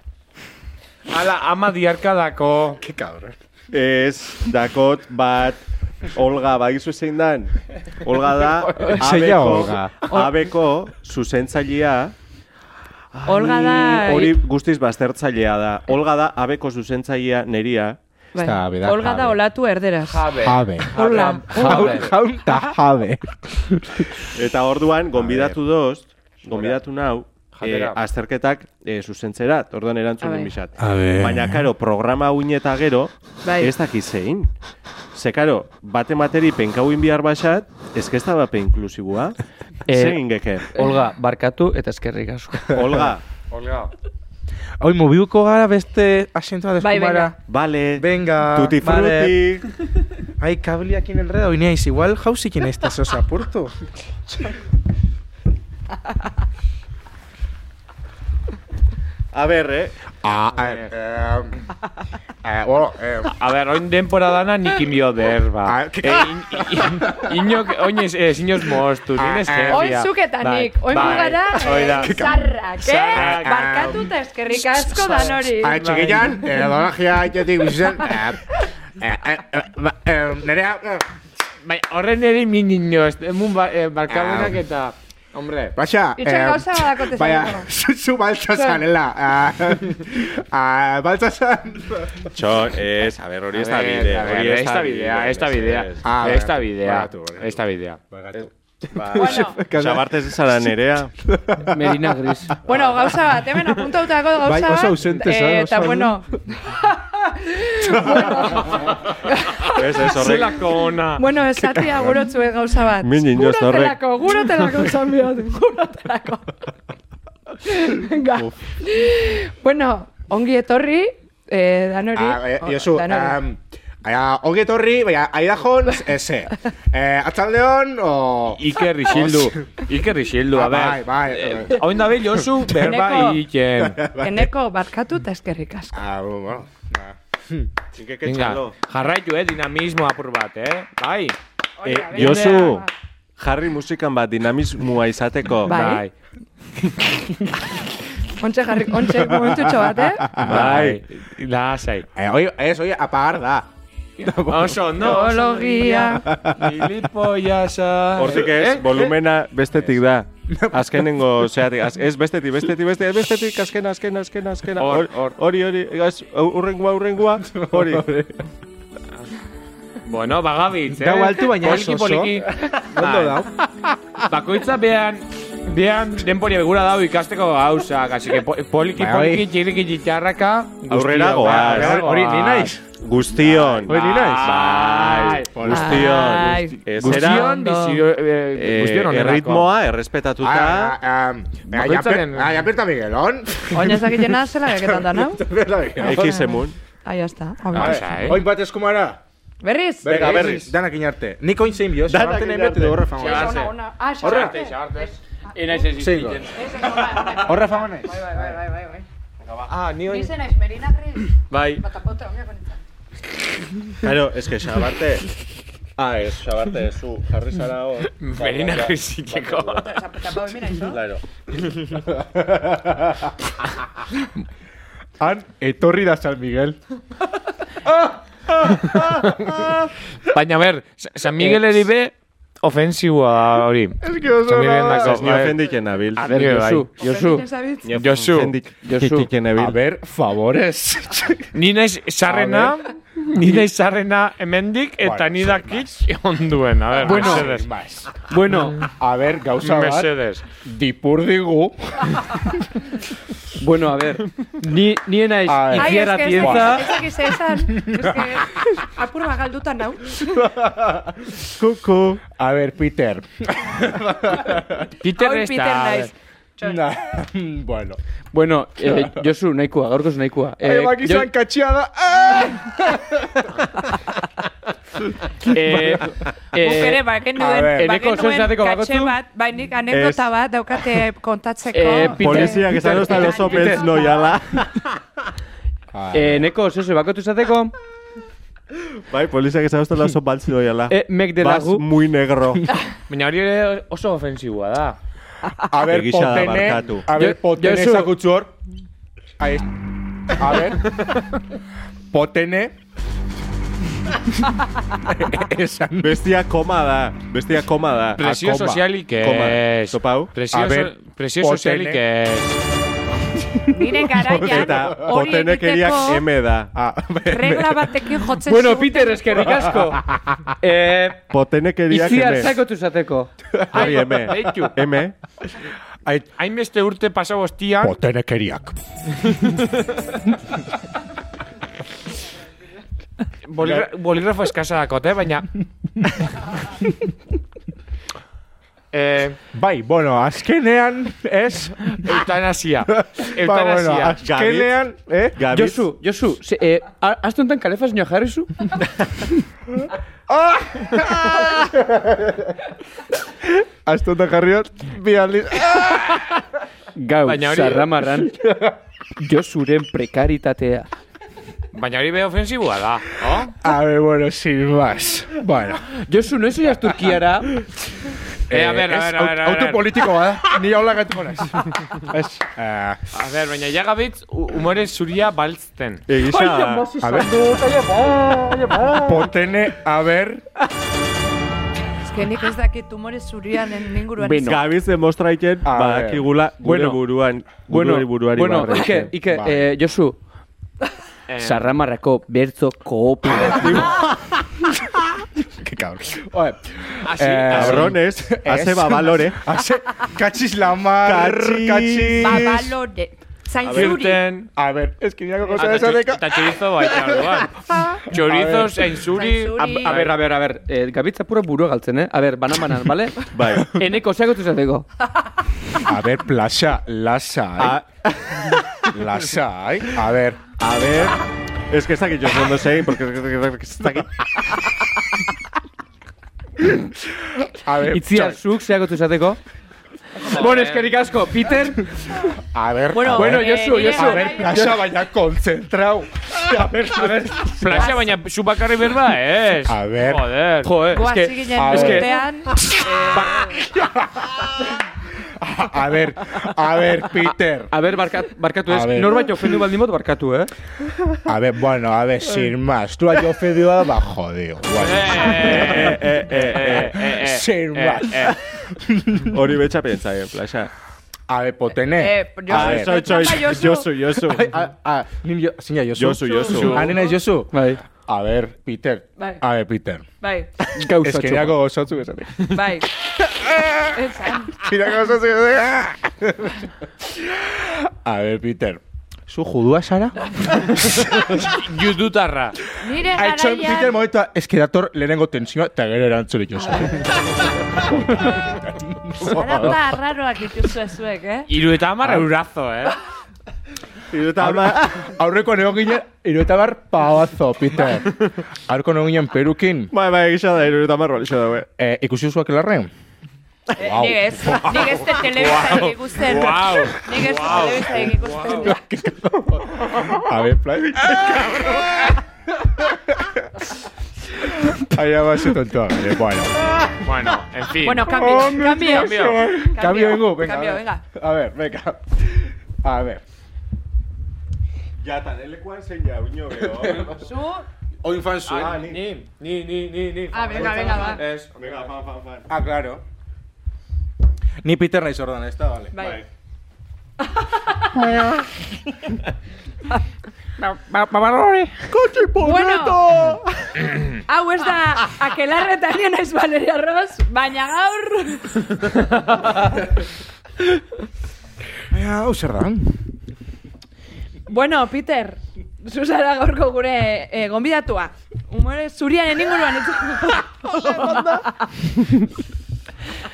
Speaker 3: Ala, ama diarkadako.
Speaker 4: Ke cabron.
Speaker 2: Ez, dakot, bat, Olga, bagizu zein dan? Olga da,
Speaker 4: Zein da
Speaker 2: abeko,
Speaker 4: Olga?
Speaker 2: abeko zuzentzailea,
Speaker 6: Olga da... eh,
Speaker 2: hori guztiz baztertzailea da. Olga da, abeko zuzentzailea neria.
Speaker 6: bai.
Speaker 4: Está, beda,
Speaker 6: Olga da
Speaker 4: jabe.
Speaker 6: olatu erderaz.
Speaker 3: Jabe.
Speaker 4: Jabe.
Speaker 6: Hola.
Speaker 4: Jaun, jaun ta jabe.
Speaker 2: Eta orduan, gonbidatu doz, gonbidatu nau, eh,
Speaker 3: Jatera.
Speaker 2: azterketak eh, zuzentzera, orduan erantzun
Speaker 6: A ber.
Speaker 2: duen bisat.
Speaker 4: A ber.
Speaker 2: Baina, karo, programa uin eta gero,
Speaker 6: Bai.
Speaker 2: ez dakiz zein. Ze, karo, bate materi penkauin bihar basat, ez que ez da bape inklusiboa.
Speaker 5: Eh,
Speaker 2: Zein geker.
Speaker 5: Olga, barkatu eta eskerrik asko.
Speaker 2: Olga,
Speaker 3: Olga.
Speaker 4: Hoi, mobiuko gara beste asientoa
Speaker 6: Bai,
Speaker 4: deskumara.
Speaker 2: Vale.
Speaker 4: Venga,
Speaker 2: Tutti
Speaker 4: vale.
Speaker 2: frutti.
Speaker 4: Ai, kabliakin enreda, hoi naiz, igual jauzikin ez da zosa apurtu.
Speaker 2: A ver, eh.
Speaker 4: Ah, eh, eh, eh, bueno, eh,
Speaker 3: A ber, oin denpora dana nik inbio der, ba.
Speaker 4: Ah, ke-
Speaker 3: Eh, in- in- Inok, oin ez, ez inoz moztu, Bai, nien ez
Speaker 4: Ah, ah.
Speaker 3: jefia.
Speaker 6: Oin zuketanik, oin mugara
Speaker 3: Hoi da.
Speaker 6: eh, zarrak, eh?
Speaker 4: Zarrak.
Speaker 6: Barkatu eta eskerrik asko dan hori.
Speaker 4: Ah, txikian, eh, donagia aitetik bizitzen, eh, eh, eh, eh, ba, eh, nerea, eh,
Speaker 3: Bai, horren ere min inoz, emun ba, eh, barkamenak
Speaker 4: Ah.
Speaker 3: eta... Hombre,
Speaker 4: Baxa,
Speaker 6: Itxoin gauza badakote
Speaker 4: baina,
Speaker 6: zailako.
Speaker 4: zu, zu baltza zanela. Ah, ah, baltza zan.
Speaker 2: Txo, ez, a ver, hori ez da
Speaker 3: A ver,
Speaker 2: bidea.
Speaker 3: a ver,
Speaker 2: Hori ez
Speaker 3: esta
Speaker 2: da
Speaker 3: bidea, esta bidea,
Speaker 4: Ah, bueno.
Speaker 3: esta bidea,
Speaker 4: Barkatu, barkatu.
Speaker 3: esta bidea.
Speaker 6: Bueno,
Speaker 2: Xabartez ez zara nerea.
Speaker 5: Merina Gris.
Speaker 6: bueno, gauza bat, hemen apuntautako gauza
Speaker 7: Bai,
Speaker 6: bat.
Speaker 7: oso ausente zara,
Speaker 6: eh,
Speaker 7: oso
Speaker 6: Eta, bueno,
Speaker 2: Ez, ez, horrek.
Speaker 3: Zelako ona.
Speaker 6: bueno, esatia gurotzue gauza bat.
Speaker 2: Min inoz horrek.
Speaker 6: Gurotelako, gurotelako esan bihot, gurotelako. Venga. Bueno, ongi etorri, eh, danori.
Speaker 4: Ah,
Speaker 6: o-
Speaker 4: Josu,
Speaker 6: danori.
Speaker 4: um, Aia, ongi etorri, baina, aida jon, eze. Eh, atzaldeon, o...
Speaker 3: Iker Isildu, Iker Isildu, a
Speaker 4: Ah, bai,
Speaker 3: ber.
Speaker 4: bai.
Speaker 3: Eh, Oin da bil, Josu, berba
Speaker 6: Eneko.
Speaker 3: iken.
Speaker 6: Eneko barkatu eta eskerrik asko.
Speaker 4: Ah, bueno. ah.
Speaker 2: Txinkeke
Speaker 3: Venga,
Speaker 2: txalo.
Speaker 3: jarraitu, eh, dinamismo apur bat, eh? Bai,
Speaker 2: Eh, Josu, jarri musikan bat dinamismoa izateko.
Speaker 6: Bai.
Speaker 3: bai,
Speaker 6: Ontxe jarri, ontxe momentutxo bat, eh?
Speaker 3: bai, lasai.
Speaker 4: Eh, oi, ez, oi, apagar da.
Speaker 3: Oso, no, oso.
Speaker 6: Teologia.
Speaker 3: Gilipollasa.
Speaker 2: Hortik ez,
Speaker 3: Eh?
Speaker 2: volumena bestetik da. Azkenengo, zeatik, az, ez bestetik, bestetik, bestetik, bestetik, azkena, azkena, azkena, azkena.
Speaker 3: Hor,
Speaker 2: Hor-
Speaker 3: hor.
Speaker 2: Hori, hori, ez, hurrengua, hurrengua, hori.
Speaker 3: Bueno, bagabitz, eh?
Speaker 4: Gau altu, baina ez oso.
Speaker 3: Poliki, poliki.
Speaker 4: Ondo
Speaker 3: Bai.
Speaker 4: dau.
Speaker 3: Bakoitza behan Bian, denpori begura dau ikasteko gauzak, así que po- poliki,
Speaker 4: Bai,
Speaker 3: poliki, txiriki, txitxarraka...
Speaker 2: Aurrera
Speaker 3: guztiok, bai,
Speaker 2: goaz.
Speaker 3: aurrera
Speaker 4: Hori ni
Speaker 3: goaz.
Speaker 4: naiz.
Speaker 2: Guztion.
Speaker 3: Hori ni naiz.
Speaker 2: Bai.
Speaker 6: Bai.
Speaker 2: Guztion. Ez era,
Speaker 3: Guztion, bizio... eh,
Speaker 2: eh,
Speaker 3: Guztion Ah, onerako.
Speaker 2: erritmoa errespetatuta.
Speaker 3: Bakoitzaren-
Speaker 4: Aperta Miguelon.
Speaker 6: Oin ez dakitena zela beketan da, nau?
Speaker 4: Aperta Miguelon.
Speaker 2: Ekiz emun.
Speaker 6: Ahí está.
Speaker 3: Ah,
Speaker 6: Oin.
Speaker 3: esa, eh.
Speaker 4: Oin bat eskumara.
Speaker 6: Berriz?
Speaker 2: Venga, berriz.
Speaker 4: Danak inarte. Nik oin zein bioz.
Speaker 2: Danak
Speaker 4: Danak
Speaker 2: inarte.
Speaker 4: inarte. Horra fama.
Speaker 3: Xabartze.
Speaker 6: Ona, ona. Ah,
Speaker 4: Horra.
Speaker 6: xabarte.
Speaker 4: Zeingo. Horra fama nahi.
Speaker 6: Bai, bai, bai, bai, bai.
Speaker 4: Ah, ni oin.
Speaker 6: Nizen aiz merina, Ba, Cris.
Speaker 2: Bai.
Speaker 6: Batapote, onia konetan.
Speaker 2: Claro, es que Xabarte... Ah, ez, Xabarte, zu, jarri zara hor.
Speaker 3: Berina krisiteko.
Speaker 6: Batapote, mira, iso.
Speaker 2: Claro.
Speaker 4: Han etorri da San Miguel.
Speaker 3: Baina ber, Sa- San Miguel eribe ofensiboa da hori. Ez que oso
Speaker 2: Ez ni bai. ofendiken nabil.
Speaker 3: A ber, Josu, Josu,
Speaker 6: Zabitz.
Speaker 3: Josu.
Speaker 2: Josu.
Speaker 4: A ver, favores.
Speaker 3: ni naiz sarrena, ni naiz sarrena hemendik eta
Speaker 4: Bueno,
Speaker 3: ni dakit onduen, a ber,
Speaker 4: Bueno, bai.
Speaker 3: mesedez.
Speaker 4: más.
Speaker 5: Bueno,
Speaker 4: A ver, gauza bat.
Speaker 3: Mesedez.
Speaker 4: Dipur digu.
Speaker 5: bueno, a ver. Ni, ni naiz
Speaker 4: A ver.
Speaker 6: Ai,
Speaker 5: Itziar
Speaker 6: ez que ez
Speaker 5: Atienza.
Speaker 6: dakit- ez dakit zer esan. Ez que apur bat galduta nau.
Speaker 4: Kuku. A ver, Peter.
Speaker 3: Peter
Speaker 6: Hoi,
Speaker 3: ez
Speaker 6: Peter
Speaker 3: da.
Speaker 6: naiz.
Speaker 4: Na, Ah, bueno.
Speaker 5: Bueno, eh, Josu, nahikoa, gaurkoz nahikoa.
Speaker 4: Eh,
Speaker 5: Eh,
Speaker 4: Ebaki
Speaker 5: jo-
Speaker 4: zan katxia da. Ah!
Speaker 3: Eh,
Speaker 6: Guk
Speaker 3: eh,
Speaker 6: ere, ba, baken
Speaker 4: a ver.
Speaker 6: nuen,
Speaker 3: Eneko,
Speaker 6: baken
Speaker 3: zuen
Speaker 6: nuen
Speaker 3: esateko
Speaker 6: katxe
Speaker 3: bakotzu?
Speaker 6: bat, bainik anekdota bat daukate kontatzeko.
Speaker 5: Eh, Peter-
Speaker 2: Polizia, que salen hasta los opens noiala.
Speaker 6: bai.
Speaker 5: eh, neko, zezo, bakotu zateko,
Speaker 2: Bai, polizia, que salen hasta los opens noiala.
Speaker 5: eh, mek dela
Speaker 2: Vas
Speaker 5: gu.
Speaker 2: muy negro.
Speaker 3: Baina hori ere oso ofensiboa da.
Speaker 4: A ver,
Speaker 2: Egisa da, barkatu.
Speaker 4: potene. A ver,
Speaker 5: Jo-
Speaker 4: potene
Speaker 5: Josu.
Speaker 4: ezagutzu hor. Ahí. A ver. Potene. Esan.
Speaker 2: Bestia koma da. Bestia koma da.
Speaker 3: Presio
Speaker 4: koma,
Speaker 3: sozialik
Speaker 2: koma.
Speaker 3: ez.
Speaker 2: Topau?
Speaker 3: Presio,
Speaker 4: Ah, A ber,
Speaker 3: so, presio
Speaker 4: potene.
Speaker 3: sozialik ez.
Speaker 6: Nire garaian,
Speaker 2: Eta
Speaker 6: hori
Speaker 2: botenekeriak
Speaker 6: egiteko
Speaker 2: M da.
Speaker 4: Ah,
Speaker 6: regla batekin jotzen
Speaker 5: Bueno,
Speaker 6: zuten.
Speaker 5: Peter, eskerrik asko. Eh,
Speaker 2: Botenekeriak
Speaker 5: Itziar
Speaker 2: M.
Speaker 5: zakotu zateko.
Speaker 2: Hori M.
Speaker 3: Beitu.
Speaker 2: M.
Speaker 3: Hainbeste urte pasau ostian,
Speaker 4: potene keriak.
Speaker 3: boligra boligrafo eskasa dakot, eh? baina... eh,
Speaker 4: Bai, bueno, azkenean, ez?
Speaker 3: eutanasia.
Speaker 4: Ba, bueno,
Speaker 3: Eutanasia.
Speaker 4: azkenean, eh?
Speaker 2: Gabiz.
Speaker 5: Josu, Josu, ze, eh, a- aste honetan kalefaz nioa jarrizu?
Speaker 4: Aztonta jarriot, bi aldiz.
Speaker 5: Gau,
Speaker 3: Baina hori-
Speaker 5: zarramarran. Josuren prekaritatea.
Speaker 3: Baina hori be ofensiboa da, oh?
Speaker 4: A ver, bueno, sin más. Bueno.
Speaker 5: Josu, noiz oiaz Turkiara?
Speaker 3: Eh, a ber, a
Speaker 4: ez,
Speaker 3: ber, a ber, a
Speaker 4: auto
Speaker 3: ber.
Speaker 4: politiko bada, ni haula gatuko naiz. Ez, eh,
Speaker 3: A ber, baina jagabitz u- umore zuria baltzten.
Speaker 4: Eh,
Speaker 2: Egisa.
Speaker 4: a ver. Potene, a ver.
Speaker 6: Ez que nik ez dakit tumore zurian en inguruan.
Speaker 5: Bueno.
Speaker 2: Gabiz demostraiken
Speaker 4: A ver.
Speaker 2: badakigula gure
Speaker 5: Bueno.
Speaker 2: buruan, gure
Speaker 5: Bueno,
Speaker 2: buruari
Speaker 5: bueno,
Speaker 2: barre
Speaker 5: Iker,
Speaker 2: egiten.
Speaker 5: Iker,
Speaker 4: Bai.
Speaker 5: eh, Josu, zarramarrako bertzo kooperatibo.
Speaker 4: Qué cabrón. Oe,
Speaker 3: Asi,
Speaker 4: Eh,
Speaker 3: asi.
Speaker 2: Cabrones, hace babalore.
Speaker 4: hace, cachis la mar,
Speaker 2: Cachis.
Speaker 4: cachis.
Speaker 6: Babalore. Ba, Zain zuri.
Speaker 3: Zirten.
Speaker 4: A ver, es que niako cosa de
Speaker 3: Eta
Speaker 4: esa
Speaker 3: txo-
Speaker 4: de ca-
Speaker 3: eta chorizo baita, orduan. Chorizo, zain zuri.
Speaker 6: Zain zuri.
Speaker 5: A ber, a ber, a ber, eh, gabitza pura burua galtzen, eh? A ber, banan-banan, bale?
Speaker 2: Bai.
Speaker 5: Eneko, zeagotu zateko.
Speaker 4: A ver, plaza, lasa,
Speaker 3: Ah.
Speaker 2: A,
Speaker 4: ay. Lasa, ay. A ver.
Speaker 2: a ver. Es que está aquí yo no sé, porque está aquí.
Speaker 4: A ver,
Speaker 5: Itziar,
Speaker 4: txo-
Speaker 5: zuk zeagotu zateko. Bueno, eskerrik asko, Peter.
Speaker 4: a ver,
Speaker 6: Bueno,
Speaker 4: a ver,
Speaker 6: eh,
Speaker 5: Josu,
Speaker 6: nire
Speaker 5: Josu.
Speaker 4: a ver,
Speaker 6: garaian-
Speaker 4: plaza, vaya concentrado. A ver, a ver.
Speaker 3: Plaza, baina zu bakarri berba, ez.
Speaker 4: A ber.
Speaker 3: Joder.
Speaker 5: Jo, eh,
Speaker 6: Goaz
Speaker 5: eske,
Speaker 6: ziginen
Speaker 4: a ver.
Speaker 6: urtean.
Speaker 4: A a ver, a ver, Peter.
Speaker 5: a ber, barkat, barkatu
Speaker 4: A
Speaker 5: ez,
Speaker 4: ber.
Speaker 5: norbait ofendu baldin bot, barkatu, eh?
Speaker 4: A ver, bueno, a ver, sin más. Tú has ofendido a va jodido. Bueno,
Speaker 3: Eh, eh, eh, eh, eh, eh,
Speaker 4: sin
Speaker 3: eh,
Speaker 4: más.
Speaker 3: eh.
Speaker 2: Hori betxa pentsa, eh, plaxa.
Speaker 4: A ver, potene.
Speaker 6: Eh, Josu,
Speaker 2: Ah,
Speaker 4: ver.
Speaker 2: eso, eso,
Speaker 6: Txapa, Josu.
Speaker 2: Josu, Josu.
Speaker 4: Ah, ah, nin jo, zina Josu.
Speaker 2: Josu, Josu.
Speaker 4: Ah, nena Josu.
Speaker 5: Bai.
Speaker 4: A ver, Peter.
Speaker 6: Bai.
Speaker 4: A ver, Peter.
Speaker 6: Bai,
Speaker 5: Gauzatxo.
Speaker 4: Es que niako gozatzu esatik.
Speaker 6: bai. Esan.
Speaker 4: Mira cómo se hace. A ver, Peter. ¿Zu judua zara?
Speaker 3: eh. Judutarra.
Speaker 6: Nire
Speaker 4: Aitzon, Peter,
Speaker 6: garaian.
Speaker 4: momentua, eske dator lehenengo tensioa, eta gero erantzurik oso.
Speaker 6: Zarata arraroak ikuzue zuek, eh?
Speaker 3: Iru eta hamar eurazo, eh?
Speaker 4: Aurreko egon ginen, irueta bar pabazo, Peter. Aurreko egon ginen perukin,
Speaker 2: Bai, bai, egisa da, irurita marroa, egisa da, bai.
Speaker 4: eh, ikusi usuak elarren?
Speaker 6: Eh, Nik ez, nik ez te telebizta ikusten.
Speaker 3: Wow.
Speaker 6: Nik ez te telebizta ikusten.
Speaker 4: A ver, Fly. Ahí va a ser tonto. Vale, Bueno.
Speaker 3: Bueno, en fin.
Speaker 6: Bueno, cambio, cambio.
Speaker 4: Cambio, vengo. Venga,
Speaker 6: Cambio,
Speaker 4: a ver.
Speaker 6: venga.
Speaker 4: A ver, venga. A ver.
Speaker 2: Ja, eta nelekuan zein ja, uño,
Speaker 6: Zu,
Speaker 4: Hoy ¿eh? fan su.
Speaker 2: Ah, ni.
Speaker 3: ni, ni, ni, ni.
Speaker 6: ah, venga, venga, va.
Speaker 4: Es.
Speaker 2: Venga, fan, fan, fan.
Speaker 4: Ah, claro. Ni Peter ni Jordan, está, vale.
Speaker 6: Bai.
Speaker 4: Mamarore.
Speaker 6: Bueno, hau ez da, akelarretan nio naiz Valeria Ross, baina gaur,
Speaker 4: Ah, Userdan.
Speaker 6: bueno, Peter, zuzara gaurko gure eh, gonbidatua. Humore zurianen inguruan itzuko.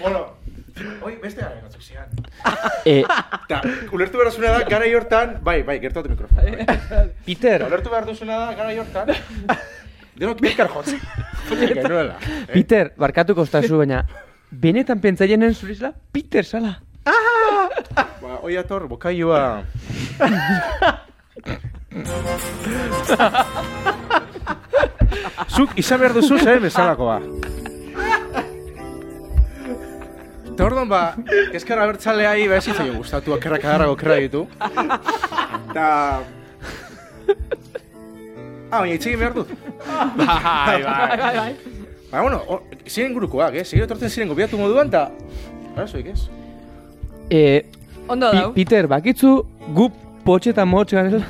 Speaker 4: Bueno. Hoy beste gara gatzuk zian.
Speaker 5: Eh,
Speaker 4: Ta, ulertu behar duzuna da, gara hortan... Bai, bai, gertatu mikrofono. bai.
Speaker 5: Peter,
Speaker 4: Ulertu behar duzuna da, gara hortan... Denok bizkar jotzen. Genuela.
Speaker 5: Peter, barkatu kostazu, baina benetan pentsaien nuen zurizla, Peter zala.
Speaker 4: Ba, oi ator, ba. bokaioa... Zuk izan behar duzu ba. zen bezalakoa. Eta orduan ba, kezkara bertzaleai ba ez zitzaion gustatu, akerrak agarrago kerra ditu. Eta... Ah, baina itzegin behar dut.
Speaker 3: Bai, bai.
Speaker 4: Ba, bueno, o, ziren gurukoak, eh? Ziren etortzen ziren gobiatu moduan, eta... Arazoik ez?
Speaker 5: Eh,
Speaker 6: Ondo
Speaker 5: Pi-
Speaker 6: dau.
Speaker 5: Peter, bakitzu gu potxe eta motxe garela?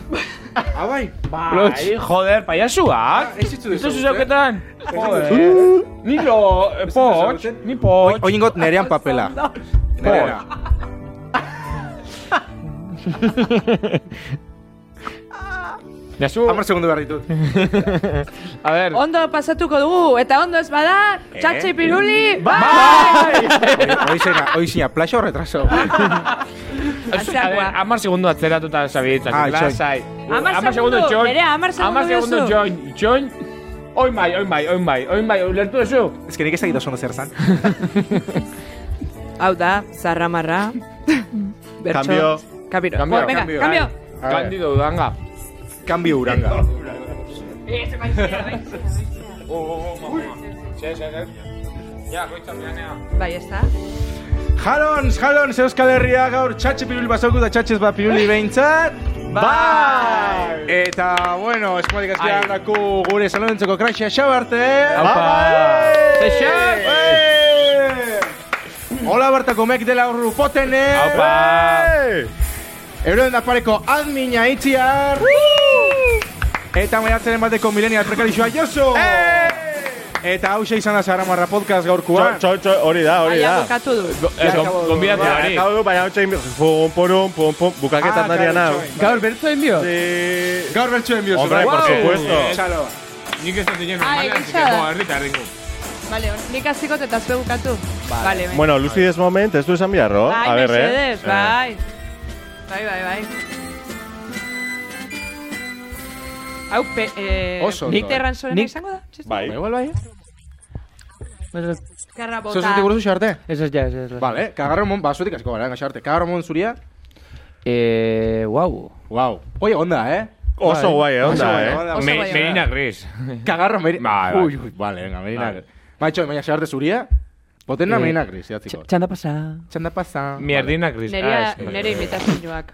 Speaker 4: Ah, bai!
Speaker 3: Bai, joder, payasuak.
Speaker 4: Ez zitzu
Speaker 3: Esto
Speaker 4: duzu,
Speaker 3: zuzaketan.
Speaker 4: Joder.
Speaker 3: Ni lo, eh, poch, ni poch.
Speaker 4: Oin ingot nerean papela. Nerea.
Speaker 3: Jasu,
Speaker 4: Hamar segundu behar ditut.
Speaker 3: a ver.
Speaker 6: Ondo pasatuko dugu, eta ondo ez bada, txatxe piruli,
Speaker 4: Oizena, oizena, plaxo retraso.
Speaker 3: A ver,
Speaker 6: Atzeakoa.
Speaker 3: Hamar segundu atzeratuta zabitza.
Speaker 4: Ah, itxoin.
Speaker 3: lasai.
Speaker 6: Hamar
Speaker 3: Hamar
Speaker 6: segundu,
Speaker 3: segundu txoin.
Speaker 6: Nerea, hamar segundu
Speaker 3: Hamar segundu
Speaker 6: diozu.
Speaker 3: txoin. Txoin. Oin bai, oin bai, oin bai, oin bai, ulertu duzu?
Speaker 4: Ez que nik ez dakit oso ondo zer zan.
Speaker 6: Hau da, zarra marra. Bertso.
Speaker 2: Cambio.
Speaker 6: Cambio.
Speaker 3: Cambio,
Speaker 6: Bueno, venga,
Speaker 4: cambio.
Speaker 6: cambio.
Speaker 4: A ver.
Speaker 3: Kandido dudanga.
Speaker 4: Cambio uranga.
Speaker 3: Ja, goitzan bianea.
Speaker 6: Bai, ez da.
Speaker 4: Jalons, jalons, Euskal Herria gaur txatxe piruli basauku eta txatxez bat piruli ba behintzat. Bai! Eta, bueno, eskumatik azkean daku gure salonentzeko kraxia xau arte. Bai! Hola bertako mek dela urru potene.
Speaker 2: Ah.
Speaker 4: Euren da pareko admina itziar. Eta maiatzaren bateko milenial prekarixoa Josu. Eta hauxe izan da Zaramarra podcast gaurkoan.
Speaker 2: Txo, txo, hori da, hori
Speaker 6: Baina
Speaker 2: da.
Speaker 6: bukatu
Speaker 4: eh,
Speaker 6: du.
Speaker 3: Gombidatu
Speaker 2: Bai,
Speaker 3: hori.
Speaker 2: akabo du, baina hau txain, pum, pum, pum, pum,
Speaker 4: Ah,
Speaker 2: bukaketan daria nau.
Speaker 5: Gaur, bertu egin dio?
Speaker 2: Sí.
Speaker 4: eh. Gaur bertxuen biozu.
Speaker 2: Hombre, por supuesto.
Speaker 4: Txalo.
Speaker 3: Nik ez dut dien
Speaker 6: Ai,
Speaker 3: normalean,
Speaker 6: gisa.
Speaker 3: zikeko herritar dingu.
Speaker 6: Ah, Vale, nik azikot eta zue bukatu. Vale, venga.
Speaker 2: Bueno, lucidez moment, ez du esan biharro.
Speaker 6: Bai,
Speaker 2: A ver, eh.
Speaker 6: mesedez, bai. Bai, bai, bai. Hau, pe, eh,
Speaker 4: Oso ondo.
Speaker 6: Nik terran zorena
Speaker 5: Nik-
Speaker 6: izango da? Txiste?
Speaker 2: Bai.
Speaker 4: Igual bai.
Speaker 5: Ez,
Speaker 6: Karra bota.
Speaker 4: Zozutik buruz xarte.
Speaker 5: ez, ez, ja, ez, ez.
Speaker 4: Vale, kagarro mon basutik asko gara, xarte. Kagarro mon zuria.
Speaker 5: Eh, guau.
Speaker 4: Wow. Oye, onda, eh.
Speaker 2: Oso guai, eh, onda, eh.
Speaker 6: Oso
Speaker 3: Me-
Speaker 6: bai,
Speaker 3: Merina gris.
Speaker 4: Kagarro meri...
Speaker 3: Bai, bai.
Speaker 4: Ui, ui, vale, venga, merina.
Speaker 3: Vale.
Speaker 4: Maitxo, baina xarte zuria. Potena
Speaker 5: Eh,
Speaker 4: merina gris, jatziko.
Speaker 5: Txanda pasa.
Speaker 4: Txanda pasa.
Speaker 3: Mierdina gris.
Speaker 6: Nerea,
Speaker 3: Ah, ez.
Speaker 6: nere imitazioak.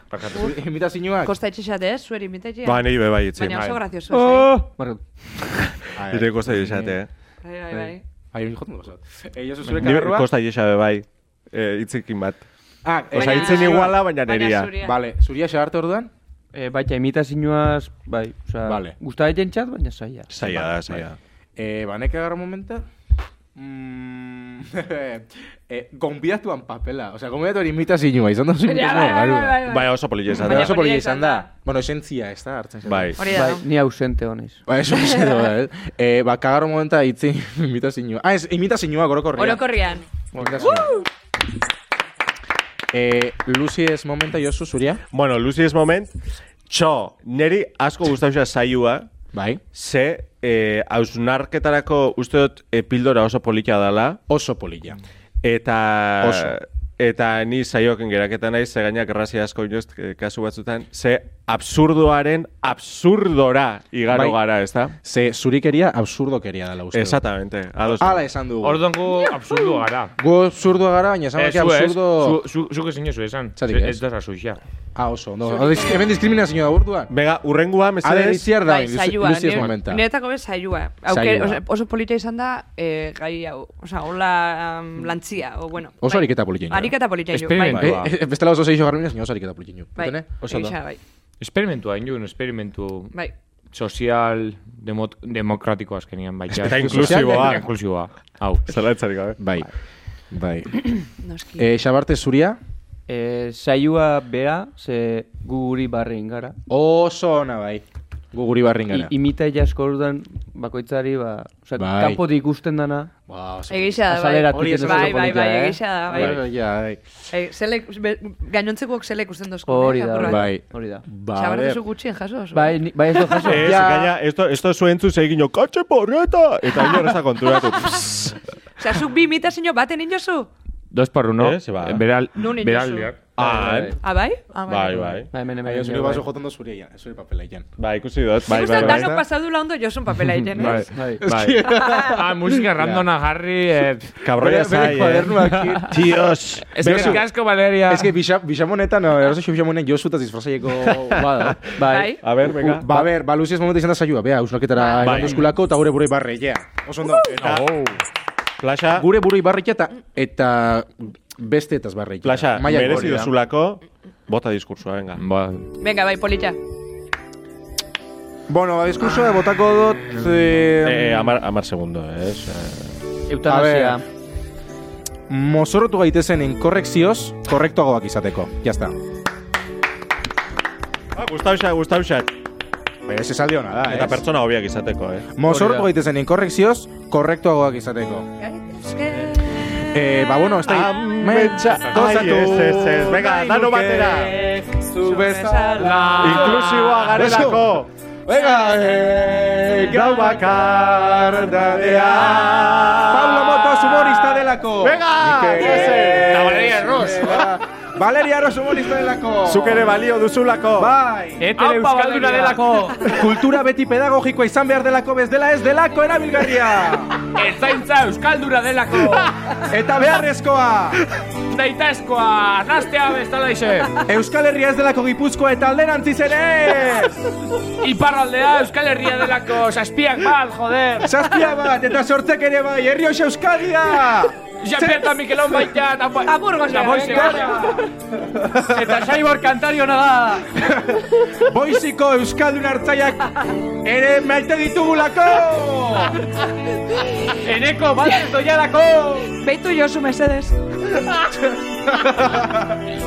Speaker 4: Imita zinuak.
Speaker 6: Kosta itxixate, ez, zuer imitazioak.
Speaker 2: Ba, nire bai, itzi.
Speaker 6: Baina oso grazioso.
Speaker 5: Oh! Barkatu.
Speaker 2: Nire kosta gisate, eh.
Speaker 6: Bai, bai, bai.
Speaker 4: Ai, hori jotzen gozat. Eh, Josu zure
Speaker 2: Nire
Speaker 4: kagarroa.
Speaker 2: kosta gisabe bai. Eh, itzikin bat.
Speaker 4: Ah, eh,
Speaker 2: Osa,
Speaker 6: Baina-
Speaker 2: itzin iguala, baina
Speaker 6: Baina
Speaker 2: neria.
Speaker 6: zuria.
Speaker 4: Vale, zuria xarte orduan.
Speaker 5: Eh, baita, imitazioaz, bai, oza,
Speaker 4: Vale.
Speaker 5: guztatzen txat, baina zaila.
Speaker 2: Zaila da, zaila.
Speaker 4: Eh, baneka agarro ba, momenta. Mm, eh, gonbidatuan papela. Osea, gonbidatuan imitazioa izan da zuen.
Speaker 6: Ja, bai, bai, bai, bai,
Speaker 2: Bai, oso polilla izan
Speaker 4: Baina
Speaker 2: da.
Speaker 4: oso
Speaker 6: polita
Speaker 4: polita
Speaker 6: izan
Speaker 4: izan da. Bueno, esentzia, ez da, hartzen zaitu.
Speaker 2: Bai.
Speaker 6: Hori da.
Speaker 5: Bai, ni ausente honez.
Speaker 4: Ba, eso es edo, eh? Eh, ba, kagarro momenta itzi imitazioa. Ah, ez, imitazioa, gorokorria.
Speaker 6: Orokorrian.
Speaker 4: Imitazioa. Eh, Lucy ez momenta jozu zuria?
Speaker 2: Bueno, Lucy es moment. Txo, neri asko guztauxa saiua,
Speaker 4: Bai.
Speaker 2: ze eh, hausnarketarako uste dut eh, pildora oso polita dala,
Speaker 4: Oso polilla.
Speaker 2: Eta...
Speaker 4: Oso.
Speaker 2: Eta ni saioken geraketa naiz, ze gainak errazia asko inoiz eh, kasu batzutan, ze absurdoaren absurdora igaro
Speaker 4: Bai.
Speaker 2: gara, ez da?
Speaker 4: Ze zurikeria absurdokeria dela uste. dut.
Speaker 2: Exactamente. ados.
Speaker 4: Hala esan dugu.
Speaker 3: Orduan gu absurdu gara. Eh,
Speaker 4: Gu absurdoa gara, baina esan
Speaker 3: Ez,
Speaker 4: daki
Speaker 3: zu ez,
Speaker 4: absurdo...
Speaker 3: zu- zu- zuk ezin jozu esan.
Speaker 4: Zatik
Speaker 3: Ez-
Speaker 4: ez.
Speaker 3: Ez da razoia.
Speaker 4: Ah, oso. No, Hor- hemen diskriminazioa da orduan.
Speaker 2: Venga, urrengoa,
Speaker 4: Ale,
Speaker 2: mesedez.
Speaker 4: itziar da,
Speaker 6: Bai, saioa.
Speaker 4: Lucy ez
Speaker 6: nire-
Speaker 4: momenta.
Speaker 6: Niretako bez saioa. Auke-
Speaker 4: Saioa.
Speaker 6: osa, Oso polita izan da, eh, gai hau. Osa, hola um, lantzia, o bueno.
Speaker 4: Oso
Speaker 6: bai.
Speaker 4: ariketa polita.
Speaker 6: Ariketa polita. inu,
Speaker 3: Esperimentua.
Speaker 6: bai.
Speaker 4: Eh, eh, Bestela oso seixo garriminas, nio zariketa politxinu.
Speaker 6: Bai,
Speaker 2: Oso ondo.
Speaker 6: egisa, bai.
Speaker 3: Experimentua, inun, esperimentu
Speaker 6: Bai.
Speaker 3: sozial demot, demokratiko azkenian bai, baita.
Speaker 2: Eta inklusiboa.
Speaker 3: Eta inklusiboa. Hau.
Speaker 2: Zalantzarik gabe.
Speaker 4: Bai. Bai.
Speaker 6: Noski.
Speaker 4: Eh, Xabarte zuria?
Speaker 5: E, saiua bera, ze gu guri barrein gara.
Speaker 4: Oso ona, bai. Gu guri barrin
Speaker 5: I,
Speaker 4: gara.
Speaker 5: imita jasko orduan bakoitzari, ba, oza,
Speaker 4: Bai.
Speaker 5: kanpotik ikusten dana.
Speaker 4: Wow, oso-
Speaker 6: Egisa da, bai.
Speaker 5: Azalera
Speaker 4: Hori ez oso
Speaker 6: Bai, bai,
Speaker 5: polita,
Speaker 6: bai,
Speaker 5: eh?
Speaker 6: egisa da, bai.
Speaker 4: Bai, ja, bai.
Speaker 6: Eh, zelek, be, gainontzekuok zelek usten dozko.
Speaker 5: Hori da, hori da,
Speaker 4: Bai.
Speaker 5: hori da.
Speaker 4: Ba, a
Speaker 6: Zabarra
Speaker 4: ber.
Speaker 6: zu gutxien jaso. oso.
Speaker 5: Bai, ni- bai ez do jaso.
Speaker 4: Eh.
Speaker 2: Ez, gaina, esto, esto zuentzu zegin jo, katxe porreta! Eta inor ez da konturatu. Psst.
Speaker 6: Osea, zuk bi imitazio baten inozu?
Speaker 3: Dos por uno.
Speaker 2: Ez, ba.
Speaker 3: Beral,
Speaker 6: Non inozu.
Speaker 3: beraldiak.
Speaker 2: Ah,
Speaker 5: bai.
Speaker 6: Ah, bai? Ah,
Speaker 2: bai, bai.
Speaker 5: Bai, hemen
Speaker 4: Bai,
Speaker 5: hemen.
Speaker 4: zure baso jotan da zuria, ja. Zure papela, ja.
Speaker 2: Bai, ikusi dut. Bai,
Speaker 6: Nik uste
Speaker 2: bai,
Speaker 6: dut
Speaker 2: bai.
Speaker 6: danok pasadula ondo josun papela egiten. eh?
Speaker 3: Bai.
Speaker 6: ez?
Speaker 5: Bai.
Speaker 3: Bai. ah, musika randona jarri. Eh,
Speaker 2: Kabroia zai, eh? Tios.
Speaker 3: Eskerrik asko, Valeria.
Speaker 4: Ez que bisa- bisamonetan, no, eroso xo bisamonen josutaz disfrazaieko
Speaker 5: oh,
Speaker 4: bada.
Speaker 6: Bai.
Speaker 2: A ber, venga.
Speaker 4: Ba, a ber, ba, Lucy ez momentu izan da zaiua, bea, usnaketara eman duzkulako, eta gure burei barre, ja. Oso ondo. Eta
Speaker 3: Oh.
Speaker 2: Plaxa,
Speaker 4: Gure burei barre, eta, eta beste etaz barre. ja.
Speaker 2: plaxa,
Speaker 4: Maila
Speaker 2: merezi
Speaker 4: gori da.
Speaker 2: duzulako, bota diskursua, venga.
Speaker 3: Ba,
Speaker 6: Venga, bai, polita.
Speaker 4: Bueno, ba, diskursoa botako dut...
Speaker 2: Eh,
Speaker 4: Eh,
Speaker 2: amar, amar segundo, eh? Osea,
Speaker 5: Bai. Eutanasia.
Speaker 4: A mozorrotu gaitezen inkorrekzioz, korrektuagoak izateko. Jazta.
Speaker 2: Ah, gustauxa, gustauxa.
Speaker 4: Baina ez esaldi hona da,
Speaker 2: Eta
Speaker 4: ez?
Speaker 2: pertsona hobiak izateko, eh?
Speaker 4: Mozorrotu gaitezen inkorrekzioz, korrektuagoak izateko. Eh, ba, bueno, ez da...
Speaker 2: Ametsa. Ai, ez, ez, ez. Venga, dano batera.
Speaker 4: Zu bezala...
Speaker 2: Inklusiboa garelako.
Speaker 4: Venga, eh,
Speaker 2: Gau bakar dadea.
Speaker 4: Pablo Motos humorista delako.
Speaker 2: Venga,
Speaker 4: Nik ere-
Speaker 2: ez, ez. Eta Valeria
Speaker 4: Ross. Valeria Ross humorista delako.
Speaker 2: Zuk ere balio duzulako.
Speaker 4: Bai.
Speaker 3: Etere Euskalduna delako.
Speaker 4: Kultura beti pedagogikoa izan behar delako bez dela ez delako erabilgarria.
Speaker 3: Etzaintza Euskalduna delako.
Speaker 4: Eta beharrezkoa.
Speaker 3: Daitazkoa, nastea bestala ise.
Speaker 4: Euskal Herria ez delako Gipuzkoa eta alderantziz ere. ez.
Speaker 3: Iparraldea Euskal Herria delako. Saspiak bat, joder.
Speaker 4: Zazpia bat eta sortzek ere bai. Herri oso Euskadia.
Speaker 3: Jean-Pierre Mikelon baita. Aburgos. Eta Moise Gara. Eta Saibor kantariona da.
Speaker 4: Boiziko Euskaldun hartzaiak ere maite ditugulako.
Speaker 3: Eneko bat doiarako.
Speaker 6: Beitu josu mesedes.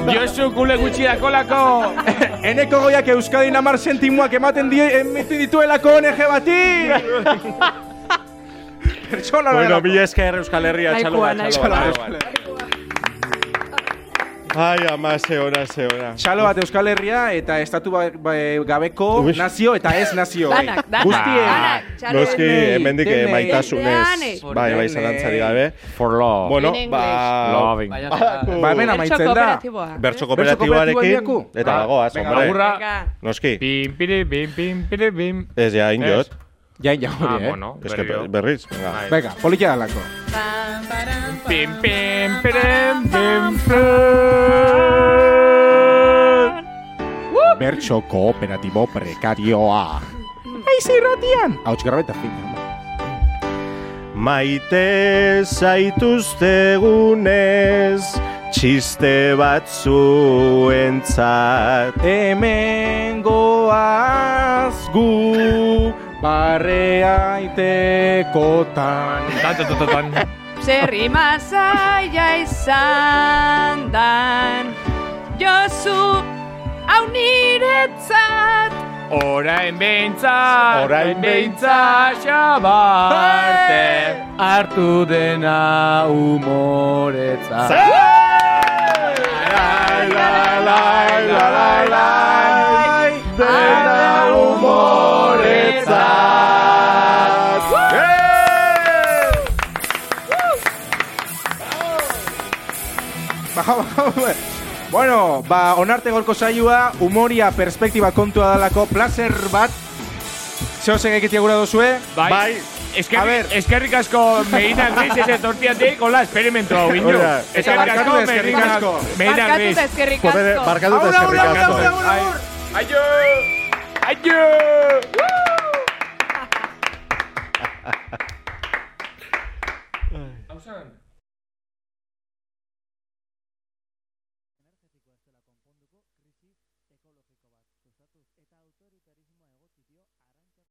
Speaker 3: Josu kule gutxi dakolako.
Speaker 4: Eneko goiak Euskadin amar sentimoak ematen die, emiti dituelako ONG bati! Pertsona
Speaker 2: Bueno,
Speaker 4: delako.
Speaker 2: mila esker Euskal Herria,
Speaker 6: Nahikoa,
Speaker 2: txalo bat,
Speaker 6: nahikoa.
Speaker 2: txalo bat, txalo bat. Ai, ama, ze ona, ze ona.
Speaker 4: Txalo bat Euskal Herria eta estatu ba, ba, gabeko
Speaker 2: Ui.
Speaker 4: nazio eta ez nazio.
Speaker 6: Danak, danak.
Speaker 2: Guztiei.
Speaker 6: Danak, txalo.
Speaker 2: Noski,
Speaker 4: Denei,
Speaker 2: hemendik eh,
Speaker 4: denei.
Speaker 2: maitasunez.
Speaker 6: Denei.
Speaker 2: Bai, bai,
Speaker 4: Denei.
Speaker 2: zalantzari gabe.
Speaker 3: For love.
Speaker 2: Bueno,
Speaker 6: In English.
Speaker 2: ba...
Speaker 3: Loving.
Speaker 4: Ba, hemen
Speaker 6: Bertso
Speaker 4: amaitzen da.
Speaker 6: kooperatiboa.
Speaker 2: Bertso
Speaker 4: kooperatiboa
Speaker 2: kooperatibarekin,
Speaker 4: diaku?
Speaker 2: eta
Speaker 4: Ah,
Speaker 2: bagoaz,
Speaker 4: venga,
Speaker 2: hombre.
Speaker 3: agurra.
Speaker 6: Venga.
Speaker 2: Noski,
Speaker 3: Pim, piri, bim, pim, piri, bim.
Speaker 2: ez ja, indiot.
Speaker 4: Jain ja
Speaker 3: Ah,
Speaker 4: hori, eh?
Speaker 3: bueno.
Speaker 2: Ez que
Speaker 3: berriro.
Speaker 2: berriz, venga.
Speaker 3: Bai.
Speaker 4: Venga, politia dalako.
Speaker 3: Pim, pim, pirim, pim,
Speaker 4: Bertso kooperatibo prekarioa.
Speaker 6: Mm,
Speaker 4: Aiz irratian! Hau txikarra eta fin.
Speaker 2: Maite zaituztegunez, txiste batzuentzat.
Speaker 4: Hemen goaz gu barrea itekotan.
Speaker 6: Zerri mazaia izan dan Jozu hau niretzat
Speaker 3: Orain behintzat,
Speaker 4: Orain
Speaker 3: orain behintzat, xabarte, hartu dena umoretza.
Speaker 4: Lai, lai, lai, lai, lai, lai, dena humoretzat. Baja, baja, Bueno, ba, onarte gorko saioa, humoria perspektiba kontua dalako, placer bat, zehosek egitea gura duzue,
Speaker 3: Bai. bai.
Speaker 4: A ver.
Speaker 3: Eskerrik, eskerrik asko Medina Grises etortiatik, hola, esperimento hau, ino.
Speaker 2: Hola.
Speaker 3: Eskerrik asko,
Speaker 4: Barkatu, eskerrik
Speaker 3: Medina-
Speaker 4: asko.
Speaker 3: Medina
Speaker 6: Barkatu
Speaker 3: Gris.
Speaker 6: eta eskerrik
Speaker 2: Joder,
Speaker 6: asko
Speaker 2: barkatu eta eskerrik asko.
Speaker 3: Aio! Aio!
Speaker 8: konponduko krisi ekologiko bat sustatu eta autoritarismoa egotzidio arau